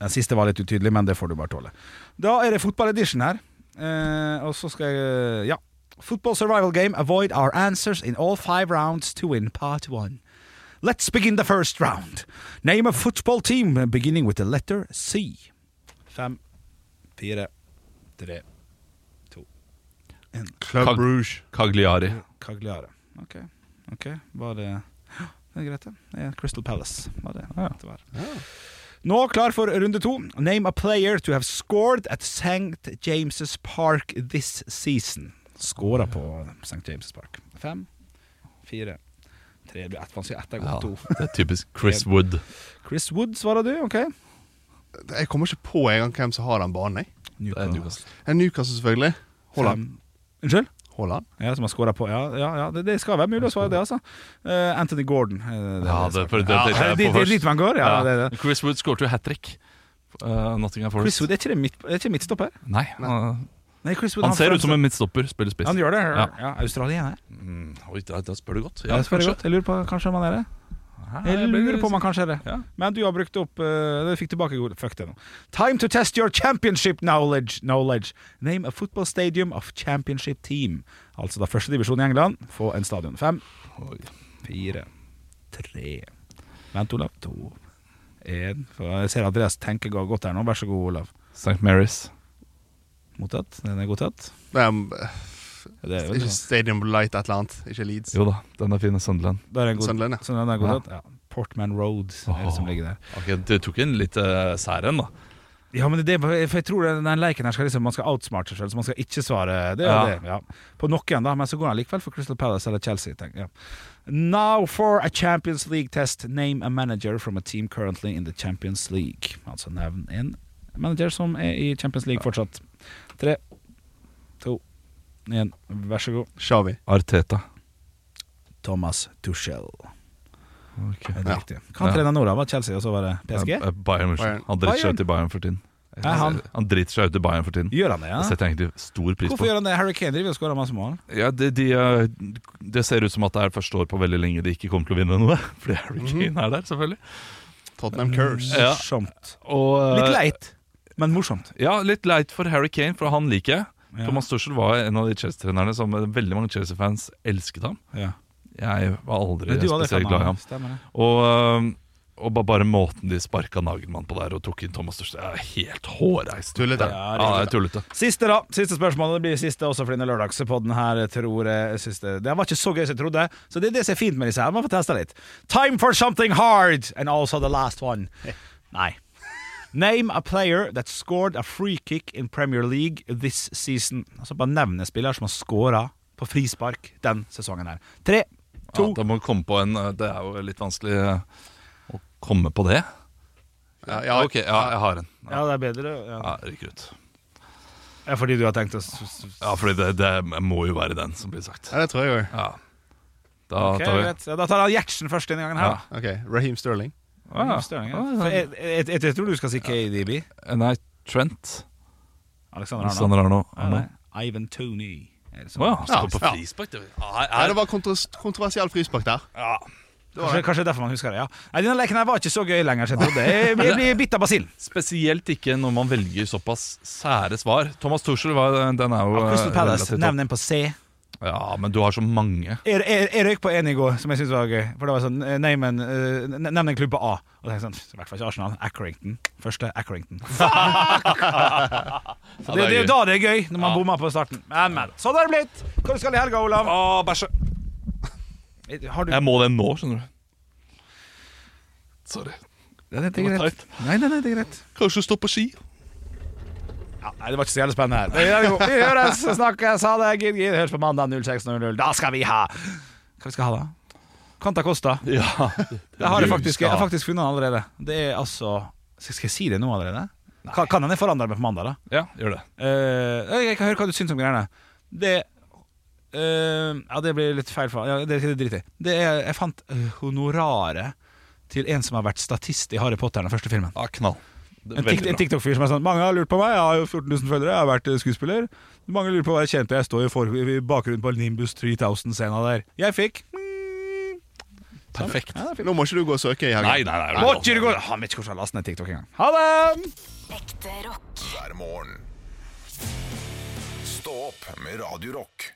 Speaker 2: Den siste var litt utydelig, men det får du bare tåle. Da er det fotball-edition her. Eh, og så skal jeg Ja. Football survival game. Avoid our answers in all five rounds to win part one. Let's begin the first round. Name a football team beginning with the letter C. Fem, fire, tre,
Speaker 5: Club
Speaker 3: Kag-
Speaker 5: Rouge.
Speaker 3: Cagliari.
Speaker 2: Cagliare. Ok, ok, var det Det er greit, det. Det er Crystal Palace. Var det. det var. Nå klar for runde to. Name a player to have scored at St. James' Park this season. Skåra på St. James' Park. Fem, fire, tre Det blir ett vanskelig. Ett er
Speaker 3: Ja,
Speaker 2: godt to.
Speaker 3: det er typisk Chris Wood.
Speaker 2: Chris Wood, svarer du? Ok.
Speaker 5: Jeg kommer ikke på engang hvem som har den banen. jeg.
Speaker 3: Det er Newcastle.
Speaker 5: Eh, Newcastle, selvfølgelig. Haaland.
Speaker 2: Fem. Unnskyld?
Speaker 5: Haaland.
Speaker 2: Ja, som har skåra på Ja, ja, ja det, det skal være mulig å svare det, altså. Eh, Anthony Gordon. eh, det,
Speaker 3: Ja, det, for det
Speaker 5: Ja,
Speaker 3: tenkte jeg
Speaker 2: dit,
Speaker 3: på
Speaker 2: dit, dit
Speaker 3: først.
Speaker 2: man går? Ja,
Speaker 3: Ja.
Speaker 2: det er det.
Speaker 3: Chris Wood skåret jo hat trick. Uh, Nottingham
Speaker 2: Chris
Speaker 3: Forest.
Speaker 2: Wood, er ikke det midt, er ikke midtstopper?
Speaker 3: Nei, han,
Speaker 2: Nei, Chris Wood,
Speaker 3: han ser ut som
Speaker 2: føler-
Speaker 3: en midtstopper, spiller spiss.
Speaker 2: Han gjør det. Ja.
Speaker 3: Ja.
Speaker 2: Australiener.
Speaker 3: Mm, oi, da, da spør du godt.
Speaker 2: Ja, jeg, spør godt. jeg lurer på kanskje om han er det. Jeg lurer på om han kanskje er det.
Speaker 3: Ja.
Speaker 2: Men du har brukt opp eh, Du fikk tilbake god Fuck det nå. Time to test your championship knowledge. knowledge. Name a football stadium of championship team. Altså da førstedivisjon i England. Få en stadion. Fem, fire, tre Vent, Olav. To, én For Jeg ser Andreas tenker godt her nå. Vær så god, Olav.
Speaker 3: St. Mary's.
Speaker 2: Mottatt. Den er godtatt.
Speaker 5: Det er, eh,
Speaker 2: Det er, sånn-
Speaker 5: ikke Stadium Light et eller annet. Ikke Leeds.
Speaker 3: Jo da, den er fin. Sunderland.
Speaker 2: Da er det en god,
Speaker 5: Sunderland, ja.
Speaker 2: Sunderland er godtatt. Ja. Portman Road er det som
Speaker 3: Åh.
Speaker 2: ligger der.
Speaker 3: Ok, Du tok en litt uh, sær en, da.
Speaker 2: Ja, men det, er bare- for jeg tror den den leiken her skal liksom, man skal outsmarte seg selv, så man skal ikke svare det. er
Speaker 3: Ja.
Speaker 2: det ja. På noen, da, men så går han likevel for Crystal Palace eller Chelsea. Tenk, ja. Now for a Champions League test. Name a manager from a team currently in the Champions League. Altså nevn en manager som er i Champions League fortsatt. Tre, to, én, vær så god.
Speaker 5: Shawi.
Speaker 3: Arteta.
Speaker 2: Thomas Tuchel.
Speaker 3: Okay.
Speaker 2: Er det
Speaker 5: Ja.
Speaker 2: riktig? Hva
Speaker 3: Ja.
Speaker 2: trener nå, da? Var det Chelsea, og så var det PSG?
Speaker 3: Eh, eh, Bayern, München.
Speaker 5: Bayern.
Speaker 3: Han driter seg
Speaker 2: Bayern?
Speaker 3: ut i Bayern for tiden.
Speaker 2: Ja, han-
Speaker 3: han driter seg ut i Bayern for tiden.
Speaker 2: Gjør han det, ja?
Speaker 3: Det setter jeg egentlig stor pris
Speaker 2: Hvorfor
Speaker 3: på.
Speaker 2: gjør han det? Harry Kane driver og skårer masse mål.
Speaker 3: Ja, det, de, eh, det ser ut som at det er første år på veldig lenge de ikke kommer til å vinne noe. Fordi Harry
Speaker 2: Mhm.
Speaker 3: Kane er der, selvfølgelig.
Speaker 5: Tottenham Curse.
Speaker 3: Mm. Ja.
Speaker 2: Morsomt.
Speaker 3: Og, eh,
Speaker 2: Litt leit, men morsomt.
Speaker 3: Ja, litt leit for Harry Kane, for han liker jeg.
Speaker 2: Ja.
Speaker 3: Thomas Tuchel var en av de Chelsea-trenerne som eh, veldig mange Chelsea-fans elsket ham.
Speaker 2: Ja.
Speaker 3: Jeg var aldri
Speaker 2: Men du hadde
Speaker 3: spesielt glad i ham.
Speaker 2: Stemmer det.
Speaker 3: Og, eh, og ba- bare måten de sparka Nagelmann på der og tok inn Thomas Tuchel, det er helt hårreist.
Speaker 5: Tullete.
Speaker 3: Ja, det er tullete.
Speaker 2: Siste da, siste spørsmål. Det blir siste også for denne lørdagspodden her, tror jeg. Siste. Det var ikke så gøy som jeg trodde, så det er det som er fint med disse her. Man får testa litt. Time for something hard, and also the last one. Nei. Name a player that scored a free kick in Premier League this season. Altså bare nevne spiller som har scora på frispark den sesongen her. Tre,
Speaker 3: Ja,
Speaker 2: to
Speaker 3: da må du komme på en eh, Det er jo litt vanskelig eh, å komme på det.
Speaker 5: Ja,
Speaker 3: Ja,
Speaker 5: ja,
Speaker 3: ok, ja, jeg har en. Ja,
Speaker 2: Ja, det er bedre. Ja.
Speaker 3: ja rykker ut.
Speaker 2: Ja, fordi du har tenkt å s- s-
Speaker 3: Ja, fordi det, det må jo være den som blir sagt.
Speaker 5: ja, det tror jeg òg.
Speaker 3: Ja. Da
Speaker 2: Ok,
Speaker 3: tar vi
Speaker 2: greit. Ja, Da tar han Gjertsen først denne gangen her.
Speaker 3: Ja.
Speaker 2: da.
Speaker 5: Ok, Raheem Sterling.
Speaker 3: Ah, ja.
Speaker 2: Støring, ja.
Speaker 3: Ah, ja. Eh,
Speaker 2: For jeg, jeg, jeg, jeg tror du skal si KDB.
Speaker 3: Nei, Trent.
Speaker 2: Alexander Arnold.
Speaker 3: Alexander Arno.
Speaker 2: Ja,
Speaker 3: Arno.
Speaker 2: nei. Ivan Tony. er det som-
Speaker 3: Å ja.
Speaker 5: Ja,
Speaker 3: Skal på
Speaker 5: ja.
Speaker 3: frispark, det. Her,
Speaker 5: Nei,
Speaker 3: her.
Speaker 5: det var kontros kontroversiell frispark der.
Speaker 3: Ja.
Speaker 2: Kanskje, kanskje derfor man husker det. ja Nei, Denne leken her var ikke så gøy lenger. som Jeg trodde Jeg jeg blir bitt av basillen.
Speaker 3: Spesielt ikke når man velger såpass sære svar. Thomas Tuchel var den er jo
Speaker 2: Crystal
Speaker 3: eh,
Speaker 2: Palace,
Speaker 3: relativt
Speaker 2: nevn en på C.
Speaker 3: Ja, men du har så mange.
Speaker 2: Jeg, jeg, jeg røyk på en i går som jeg syntes var gøy. For det var sånn eh, Nei, men eh, ne- Nevn en klubb på A. Og tenkte sånn, I hvert fall ikke Arsenal. Accrington. Første Accrington. Fuck! Så det, det er jo da det er gøy, når man bommer på starten. Men, men. Sånn er det blitt. Hvor skal du i helga, Olav?
Speaker 3: Å, bæsje.
Speaker 2: Har du
Speaker 3: Jeg må den nå, skjønner du. Sorry.
Speaker 2: Ja, det
Speaker 3: var tight.
Speaker 2: Nei, nei, nei, det er greit.
Speaker 3: Kanskje stå på ski.
Speaker 2: Ja, nei, det var ikke så jævlig spennende her. Det gjør det jo. Vi høres, snakkes, ha det. Gid, gid. Høres på mandag 06.00. Da skal vi ha Hva vi skal ha, da? Quanta Costa.
Speaker 3: Ja.
Speaker 2: Det har jeg faktisk, jeg har faktisk funnet den allerede. Det er altså Skal skal jeg si det nå allerede? Kan, kan hende jeg forandrer meg på mandag, da.
Speaker 3: Ja, gjør det.
Speaker 2: Eh, jeg kan høre hva du syns om greiene. Det eh, Ja, det blir litt feil. For, ja, det det driter jeg i. Det er- Jeg fant eh, honoraret til en som har vært statist i Harry Potter, den første filmen.
Speaker 3: Ja, knall.
Speaker 2: En, tik- en TikTok-fyr som er sånn Mange har lurt på meg, jeg har jo 14 000 følgere, jeg har vært eh, skuespiller. Mange lurer på hva jeg tjente, jeg står i, for, i bakgrunnen på Nimbus 3000-scena der. Jeg fikk mm,
Speaker 3: Perfekt. Nei,
Speaker 5: Nå må ikke du gå og søke i helga.
Speaker 3: nei, nei. altså-
Speaker 2: Må ikke du gå Han vet ikke hvordan jeg laster ned TikTok engang. Ha det!
Speaker 6: Ekte rock.
Speaker 1: hver morgen. Stå opp med Radio Rock.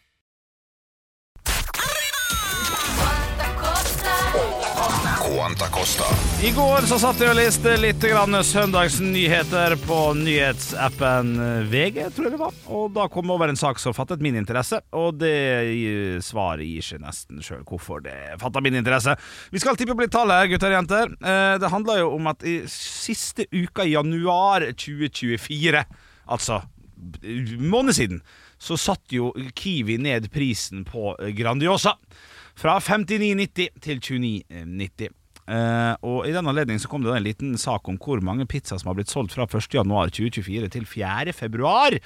Speaker 1: Quanta Costa.
Speaker 2: I går så satt jeg og leste litt grann søndagsnyheter på nyhetsappen VG, tror jeg det var. Og da kom jeg over en sak som fattet min interesse, og det eh, svaret gir seg nesten sjøl hvorfor det fatta min interesse. Vi skal tippe opp litt tall her, gutter og jenter. Eh, Det handler jo om at i siste uka i januar 2024, altså b- måned siden, så satt jo Kiwi ned prisen på Grandiosa. Fra 59,90 til 29,90. Eh, og I den anledning så kom det da en liten sak om hvor mange pizzaer som har blitt solgt fra 1.1.2024 til 4.2.2024,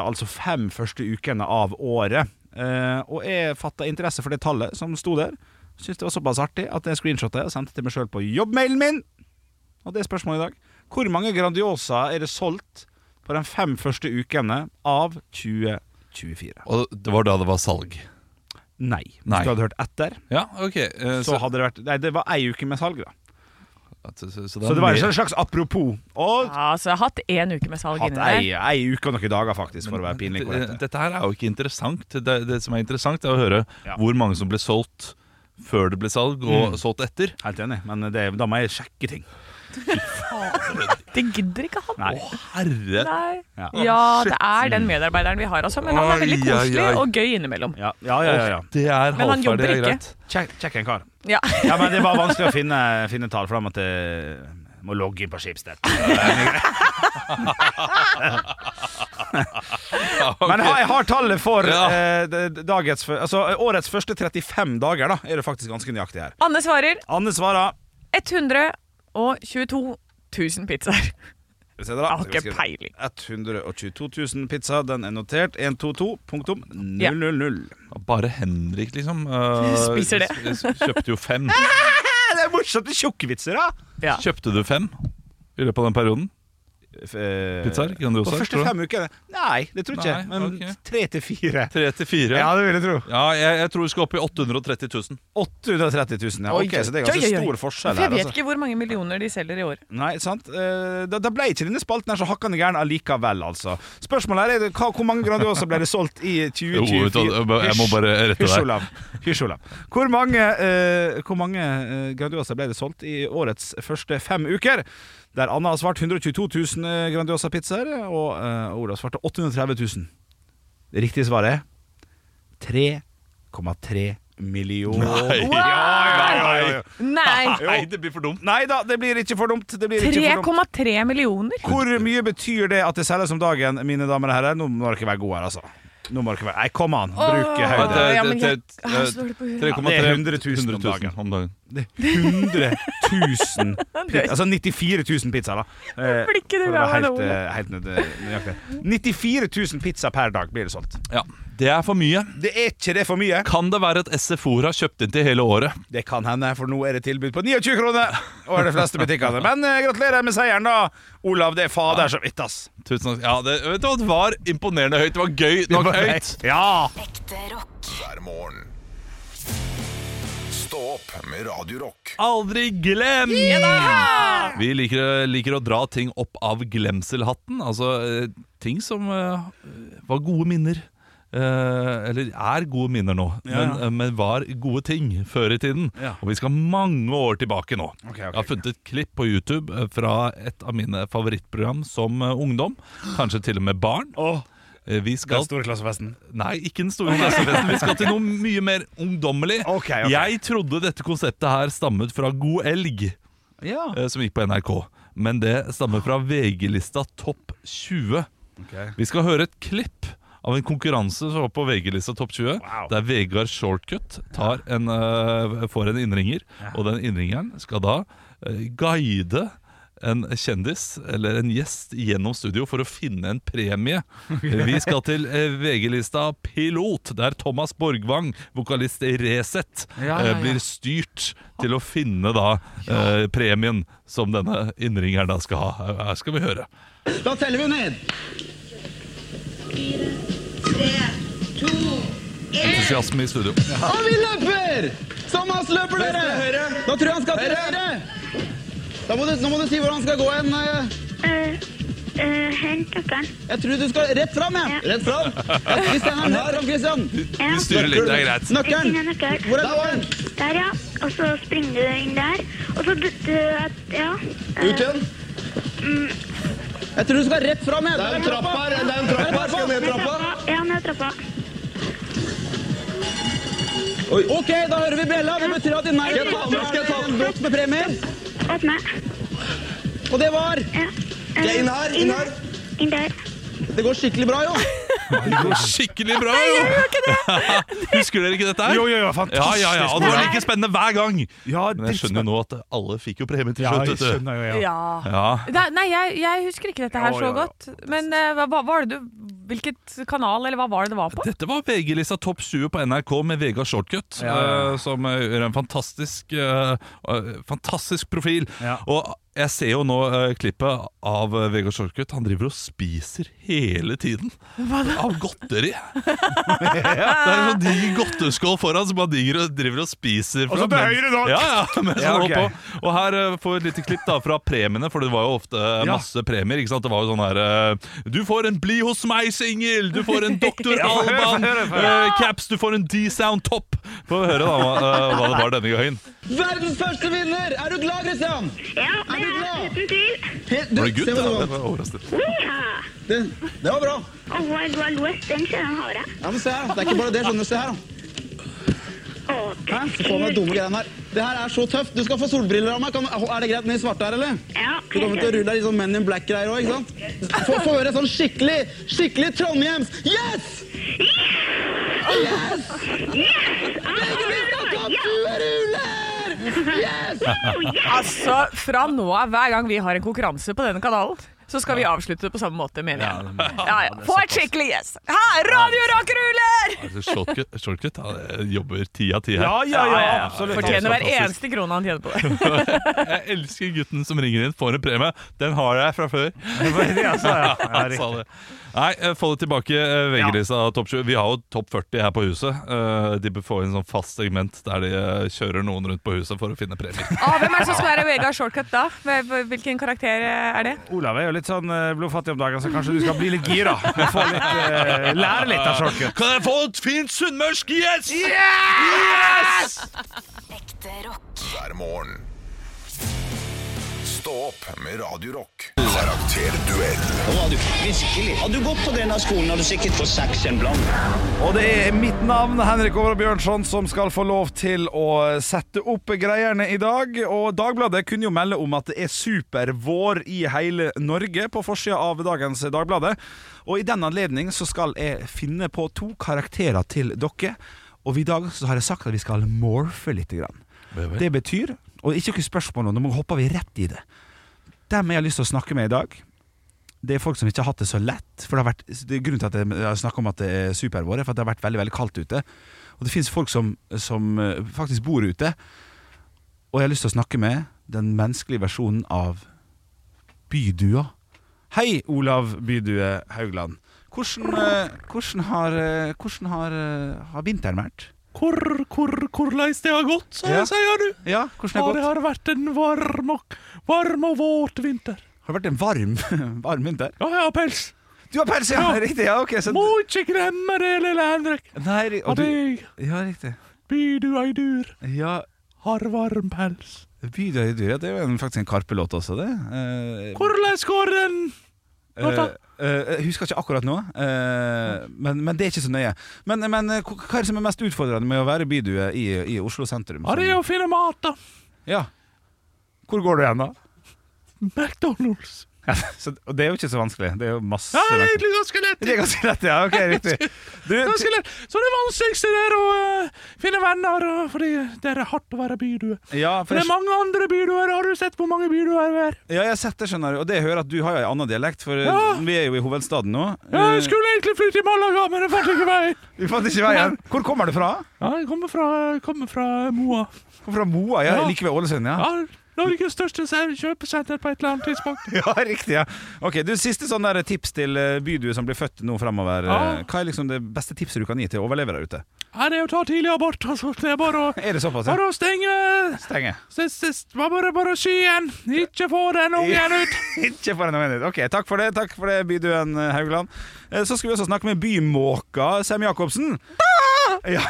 Speaker 2: altså fem første ukene av året. Eh, og jeg fatta interesse for det tallet som sto der. Syns det var såpass artig at jeg screenshotta og sendte til meg sjøl på jobbmailen min. Og det er spørsmålet i dag. Hvor mange Grandiosa er det solgt på de fem første ukene av 2024?
Speaker 3: Og det var da det var salg.
Speaker 2: Nei. Hvis
Speaker 3: Nei.
Speaker 2: du hadde hørt etter,
Speaker 3: Ja, ok. eh,
Speaker 2: så hadde det vært Nei, det var ei uke med salg, da.
Speaker 3: så, så, så,
Speaker 2: Så det var
Speaker 3: mer-
Speaker 2: en slags apropos. Og
Speaker 4: Ja, så Altså, jeg har hatt én uke med salg
Speaker 2: Hatt
Speaker 4: inni
Speaker 2: ei,
Speaker 4: der.
Speaker 2: ei uke og noen dager, faktisk, for å være pinlig
Speaker 3: Det-
Speaker 2: korrekt.
Speaker 3: Dette her er jo ikke interessant. Det, det som er interessant, er å høre
Speaker 2: Ja. Mm.
Speaker 3: hvor mange som ble solgt før det ble salg, og solgt etter.
Speaker 2: Helt enig, men det, da må jeg sjekke ting.
Speaker 4: Det gidder ikke han.
Speaker 2: Nei.
Speaker 3: Å, herre!
Speaker 4: Nei.
Speaker 2: Ja.
Speaker 4: Ja, det er den medarbeideren vi har, altså. Men han er veldig
Speaker 3: Oi, oi,
Speaker 4: koselig
Speaker 3: oi.
Speaker 4: og gøy innimellom.
Speaker 2: Ja, ja, ja. ja, ja.
Speaker 3: Det er
Speaker 4: Men han
Speaker 3: halvferdig, det
Speaker 4: jobber
Speaker 3: er
Speaker 4: ikke.
Speaker 3: greit.
Speaker 2: Sjekk, sjekk en kar.
Speaker 4: Ja.
Speaker 2: Ja, men det var vanskelig å finne, finne tall, for da måtte jeg må logge inn på Schibsted. Men jeg har- jeg har tallet for
Speaker 3: Ja.
Speaker 2: eh, d- dagens, fø- altså, årets første 35 dager, da, er det faktisk ganske nøyaktig her.
Speaker 4: Anne svarer
Speaker 2: Anne svarer
Speaker 4: 122 000 pizzaer.
Speaker 2: Skal vi se det da.
Speaker 4: Jeg har
Speaker 2: Skal vi
Speaker 4: ikke
Speaker 2: skrive.
Speaker 4: peiling.
Speaker 2: 122 000 pizza, den er notert. 122.000.
Speaker 3: Bare Henrik, liksom. eh,
Speaker 4: Spiser det.
Speaker 3: s- s- Kjøpte jo fem.
Speaker 2: Ja, Det er morsomt med tjukkvitser, da!
Speaker 4: Ja.
Speaker 3: Kjøpte du fem i løpet av den perioden? Pizzaer?
Speaker 2: På
Speaker 3: Grandiosa?
Speaker 2: første
Speaker 3: tror du?
Speaker 2: fem ukene? Nei, det tror jeg ikke.
Speaker 3: Nei,
Speaker 2: Men
Speaker 3: ok.
Speaker 2: tre til fire.
Speaker 3: Tre til fire?
Speaker 2: Ja,
Speaker 3: Ja,
Speaker 2: det vil jeg tro.
Speaker 3: jeg, jeg tror vi skal opp i 830 000.
Speaker 2: 830 000, ja.
Speaker 4: Oi,
Speaker 2: Ok, så det er ganske
Speaker 4: oi, oi, oi.
Speaker 2: altså, stor forskjell
Speaker 4: For jeg
Speaker 2: her.
Speaker 4: vet
Speaker 2: Altså.
Speaker 4: ikke hvor mange millioner de selger i år.
Speaker 2: Nei, sant? Eh, Da, da ble ikke denne spalten her så hakkande gæren allikevel, altså. Spørsmålet her er hva, hvor mange Grandiosa ble det solgt i
Speaker 3: Jo,
Speaker 2: 2024?
Speaker 3: vet du hva, jeg må bare rette
Speaker 2: Hysj,
Speaker 3: deg.
Speaker 2: Olav. Hysj, Olav. Hvor mange, eh, hvor mange eh, Grandiosa ble det solgt i årets første fem uker? Der Anna har svart 122 000 eh, Grandiosa-pizzaer, og eh, Olav svarte 830 000. Det riktige svaret er 3,3 millioner.
Speaker 3: Nei.
Speaker 2: Ja, ja, ja, ja, ja.
Speaker 4: Nei!
Speaker 3: Nei, det blir for dumt.
Speaker 2: Nei da, det blir ikke for dumt. Det blir ikke for dumt.
Speaker 4: 3,3 millioner?
Speaker 2: Hvor mye betyr det at det selges om dagen, mine damer og herrer? Nå må dere være gode her, altså. Nå må dere være Nei, kom an, bruk
Speaker 4: Åh.
Speaker 2: hodet.
Speaker 4: Ja, men
Speaker 3: Det- det-
Speaker 4: jeg-
Speaker 3: det-
Speaker 4: jeg har så dårlig på huet.
Speaker 3: 3,3
Speaker 2: Ja, det er 100 000 om
Speaker 3: 100 000 om dagen.
Speaker 2: Det er 100 000 pizza, Altså 94 000 pizzaer, da. Eh,
Speaker 4: Blir ikke det
Speaker 2: for å være
Speaker 4: bra med
Speaker 2: helt,
Speaker 4: det ordet?
Speaker 2: eh, helt nød- nøyaktig. 94 000 pizza per dag blir det solgt.
Speaker 3: Ja, Det er for mye.
Speaker 2: Det er ikke det for mye?
Speaker 3: Kan det være at SFOR har kjøpt inn til hele året?
Speaker 2: Det kan hende, for nå er det tilbud på 29 kroner over de fleste butikkene. Men eh, gratulerer med seieren, da. Olav, det er fader så vidt, ass.
Speaker 3: Tusen takk. Ja, det, vet du, hva, det var imponerende høyt. Det var gøy nok høyt.
Speaker 2: Ja.
Speaker 6: Ekte rock.
Speaker 1: hver morgen. Stå opp med Radio Rock.
Speaker 3: Aldri glem! Vi liker, liker å dra ting opp av glemselhatten. Altså eh, ting som eh, var gode minner. eh, eller er gode minner nå,
Speaker 2: Ja,
Speaker 3: men,
Speaker 2: ja.
Speaker 3: men var gode ting før i tiden.
Speaker 2: Ja.
Speaker 3: Og vi skal mange år tilbake nå.
Speaker 2: ok,
Speaker 3: Jeg har funnet et klipp på YouTube eh, fra et av mine favorittprogram som eh, ungdom. Kanskje til og med barn.
Speaker 2: Åh,
Speaker 3: Eh, Vi
Speaker 2: den
Speaker 3: skal
Speaker 2: store klassefesten.
Speaker 3: Nei, ikke den store klassefesten. Vi skal til noe mye mer ungdommelig.
Speaker 2: Ok, ok.
Speaker 3: Jeg trodde dette konseptet her stammet fra God elg,
Speaker 2: Ja.
Speaker 3: eh, som gikk på NRK. Men det stammer fra VG-lista Topp 20. Vi skal høre et klipp av en konkurranse som var på VG-lista Topp 20,
Speaker 2: Wow.
Speaker 3: der Vegard Shortcut tar en, eh, får en innringer, og den innringeren skal da eh, guide en kjendis eller en gjest gjennom studio for å finne en premie. Vi skal til eh, VG-lista Pilot, der Thomas Borgvang, vokalist i Resett,
Speaker 2: Ja, ja,
Speaker 3: eh, blir styrt til å finne da eh, premien som denne innringeren da skal ha. Her- Her skal vi høre.
Speaker 7: Da teller vi ned.
Speaker 3: Entusiasme i studio.
Speaker 7: Og vi løper! Thomas, løper dere? Da tror jeg han skal til høyre. Da må du, nå må du si hvor han skal gå hen. eh.
Speaker 8: Helt nøkkelen.
Speaker 7: Jeg tror du skal rett fram, jeg. Rett fram. Kristian er rett fram, Kristian.
Speaker 8: Ja.
Speaker 3: Vi styrer litt, det er greit.
Speaker 8: Jeg
Speaker 7: Nøkkelen.
Speaker 8: finner nøkkelen.
Speaker 7: Hvor er nøkkelen?
Speaker 8: Der, ja. Og så springer du inn der. Og så butter du at Ja. eh,
Speaker 7: Ut igjen. Jeg tror du skal rett fram, jeg. Det er en trapp her. Det er en trapp her. Skal ned
Speaker 8: ned trappa. Ja, ned trappa.
Speaker 7: Ok, da hører vi bjella. Det betyr at i nærheten er det en boks med premier.
Speaker 8: Åpne.
Speaker 7: Og det var
Speaker 8: Ja. eh,
Speaker 7: Inn her, inn her.
Speaker 8: Inn der.
Speaker 7: Det går skikkelig bra, jo.
Speaker 3: Det går skikkelig bra, jo! Husker dere ikke dette her?
Speaker 2: Jo, jo, jo,
Speaker 3: Ja,
Speaker 2: fantastisk.
Speaker 3: ja, ja, og det var like spennende hver gang!
Speaker 2: Ja,
Speaker 3: Men jeg skjønner jo nå at alle fikk jo premie til
Speaker 2: Ja,
Speaker 3: slutt.
Speaker 2: jeg
Speaker 3: vet du.
Speaker 2: skjønner jo, ja.
Speaker 9: Ja.
Speaker 3: Ja.
Speaker 4: Da, nei, jeg, jeg husker ikke dette her
Speaker 2: Ja,
Speaker 4: så
Speaker 2: ja, ja.
Speaker 4: godt. Men eh, hva, hva var det du Hvilket kanal, eller hva var det det var på?
Speaker 3: Dette var VG-lista Topp 20 på NRK med Vegard Shortcut,
Speaker 2: Ja, ja, ja.
Speaker 3: eh, som eh, gjør en fantastisk, eh, eh, fantastisk profil.
Speaker 2: Ja.
Speaker 3: Og jeg ser jo nå eh, klippet av eh, Vegard Shortcut. Han driver og spiser hele tiden av godteri. Det er en sånn diger godteskål foran som han diger og driver og spiser.
Speaker 2: Eh. Og så
Speaker 3: fra,
Speaker 2: til
Speaker 3: men-
Speaker 2: høyre nå.
Speaker 3: Ja, ja, mens
Speaker 2: Ja,
Speaker 3: han
Speaker 2: ok.
Speaker 3: holder på. Og her eh, får vi et lite klipp da fra premiene, for det var jo ofte eh,
Speaker 2: Ja.
Speaker 3: masse premier. ikke sant? Det var jo sånn her eh, Du får en Bli hos meg-singel! Du får en Dr.
Speaker 2: Ja, få høre, få
Speaker 3: Alban!
Speaker 2: høre, få
Speaker 3: eh, caps! Du får en D-Sound Topp! Får vi høre da hva, eh, hva det var denne gangen.
Speaker 7: Verdens første vinner! Er du glad, Kristian?
Speaker 8: Ja,
Speaker 7: Er du
Speaker 8: det er
Speaker 7: glad?
Speaker 8: uten tvil.
Speaker 7: Helt- du,
Speaker 3: Var det gutt?
Speaker 7: se hva
Speaker 3: da?
Speaker 7: det var.
Speaker 3: Jeg var overrasket.
Speaker 8: Ja.
Speaker 7: Det, det var bra.
Speaker 8: Og Wild Wild West, den kjenner jeg har, jeg.
Speaker 7: Ja, men se her, da. Det er ikke bare det. skjønner du. Se her, da.
Speaker 8: Å,
Speaker 7: Hæ? Se på meg dumme greiene her. Det her er så tøft. Du skal få solbriller av meg. Kan, er det greit med de svarte her, eller?
Speaker 8: Ja,
Speaker 7: Du kommer til å
Speaker 8: helt
Speaker 7: rulle deg litt sånn Men in Black-greier òg, ikke sant? Få, få høre sånn skikkelig, skikkelig Trondheims Yes! Yes! Legevista kapuruler! Yes!
Speaker 9: Altså, fra nå av, hver gang vi har en konkurranse på denne kanalen, så skal vi avslutte på samme måte, mener jeg. Ja, ja. Få et skikkelig yes! Her, Radio Rockruller!
Speaker 3: Altså, Shortcut, shortcut han jobber ti av ti her.
Speaker 2: Ja, ja, ja, absolutt.
Speaker 9: Fortjener hver
Speaker 3: Fantastisk.
Speaker 9: eneste krone han tjener på det.
Speaker 3: Jeg elsker gutten som ringer inn, får en premie. Den har jeg fra før.
Speaker 2: ja. Ja,
Speaker 3: Han sa det. Nei, eh, få det tilbake, eh, VG-lista Topp 20. Vi har jo Topp 40 her på huset. Eh, De bør få inn sånn fast segment der de eh, kjører noen rundt på huset for å finne premier.
Speaker 4: Ah, hvem er det som skal være Vegard Shortcut da? Hvem- Hvilken karakter eh, er det?
Speaker 2: Olav er jo litt sånn eh, blodfattig om dagen, så kanskje du skal bli litt gira. Og få litt, eh, lære litt av shortcut.
Speaker 3: Kan jeg få et fint sunnmørsk yes?!
Speaker 6: Ekte rock.
Speaker 1: hver morgen. Stå opp med Radio Rock. Karakterduell
Speaker 7: Nå var du virkelig. Hadde du gått på denne skolen, hadde du sikkert fått seks en blant.
Speaker 2: Og det er mitt navn, Henrik Over Bjørnson, som skal få lov til å sette opp greiene i dag. Og Dagbladet kunne jo melde om at det er supervår i hele Norge på forsida av dagens Dagbladet. Og i den anledning så skal jeg finne på to karakterer til dere. Og i dag så har jeg sagt at vi skal morfe lite grann. Det betyr, og ikke noe spørsmål nå, nå hopper vi rett i det. Dem jeg har lyst til å snakke med i dag, det er folk som ikke har hatt det så lett. For det har vært, det er grunnen til at jeg har snakket om at det er supervår, er for at det har vært veldig veldig kaldt ute. Og det finnes folk som, som eh, faktisk bor ute. Og jeg har lyst til å snakke med den menneskelige versjonen av bydua. Hei, Olav Bydue Haugland. Hvordan, eh, hvordan, har, eh, hvordan har, eh, har vinteren vært?
Speaker 3: Hvor, hvor, hvorleis det har gått,
Speaker 2: Ja.
Speaker 3: sier du?
Speaker 2: Ja, hvordan har det gått?
Speaker 3: har vært en varm og, varm og våt vinter.
Speaker 2: Har det vært en varm, varm vinter?
Speaker 3: Ja, jeg har pels.
Speaker 2: Du Du har pels, ja! Riktig. ja, ok så,
Speaker 3: Må ikke glemme det, lille Henrik.
Speaker 2: Nei, og
Speaker 3: Av
Speaker 2: du,
Speaker 3: deg
Speaker 2: ja, riktig.
Speaker 3: byr du ei dur,
Speaker 2: Ja,
Speaker 3: har varm pels.
Speaker 2: Bydøydyr, ja, det er jo en- faktisk en Karpe-låt også, det. Eh,
Speaker 3: Hvordan går den?
Speaker 2: Eh, eh, jeg husker ikke akkurat nå, eh, men, men det er ikke så nøye. Men, men eh, hva hva er det som er mest utfordrende med å være bydue i, i Oslo sentrum?
Speaker 3: Ja, det er å finne mat, da.
Speaker 2: Ja. Hvor går du hen, da?
Speaker 3: McDonald's.
Speaker 2: Ja, så, og det er jo ikke så vanskelig. Det er jo masse
Speaker 3: Ja, det er egentlig ganske lett.
Speaker 2: Det er ganske lett, ja. Ok, riktig. Du,
Speaker 3: Ganske lett. Så det vanskeligste det er å eh, finne venner, og- fordi det er hardt å være bydue.
Speaker 2: ja,
Speaker 3: For
Speaker 2: for
Speaker 3: det
Speaker 2: jeg,
Speaker 3: er mange andre byduer. Har du sett hvor mange byduer det
Speaker 2: ja,
Speaker 3: er?
Speaker 2: jeg har sett det, skjønner du. Og det jeg hører at du har jo en annen dialekt, for eh,
Speaker 3: Ja.
Speaker 2: vi er jo i hovedstaden nå.
Speaker 3: Ja,
Speaker 2: Eh,
Speaker 3: jeg skulle egentlig flytte til Malaga, men jeg fant ikke veien.
Speaker 2: Vi fant ikke veien. Hvor kommer du fra?
Speaker 3: Ja, jeg kommer fra, kommer fra Moa.
Speaker 2: Kommer fra Moa, ja,
Speaker 3: Ja.
Speaker 2: like ved Ålesund. Ja.
Speaker 3: Ja, Norges største se- kjøpesenter på et eller annet tidspunkt.
Speaker 2: Ja, riktig. ja Ok, du, Siste sånn der tips til eh, bydue som blir født nå framover.
Speaker 3: Ja.
Speaker 2: Hva er liksom det beste tipset du kan gi til overlevere ute?
Speaker 3: Her er å ta tidlig abort, altså. Det er bare å,
Speaker 2: Er det såpass? Ja?
Speaker 3: bare å stenge
Speaker 2: Stenge.
Speaker 3: s- s- s- Bare, bare skyen. Ikke få den ungen ut.
Speaker 2: Ikke for en minutt. Ok, Takk for det, takk for det byduen eh, Haugland. Eh, Så skal vi også snakke med bymåka Sem-Jacobsen. Ja,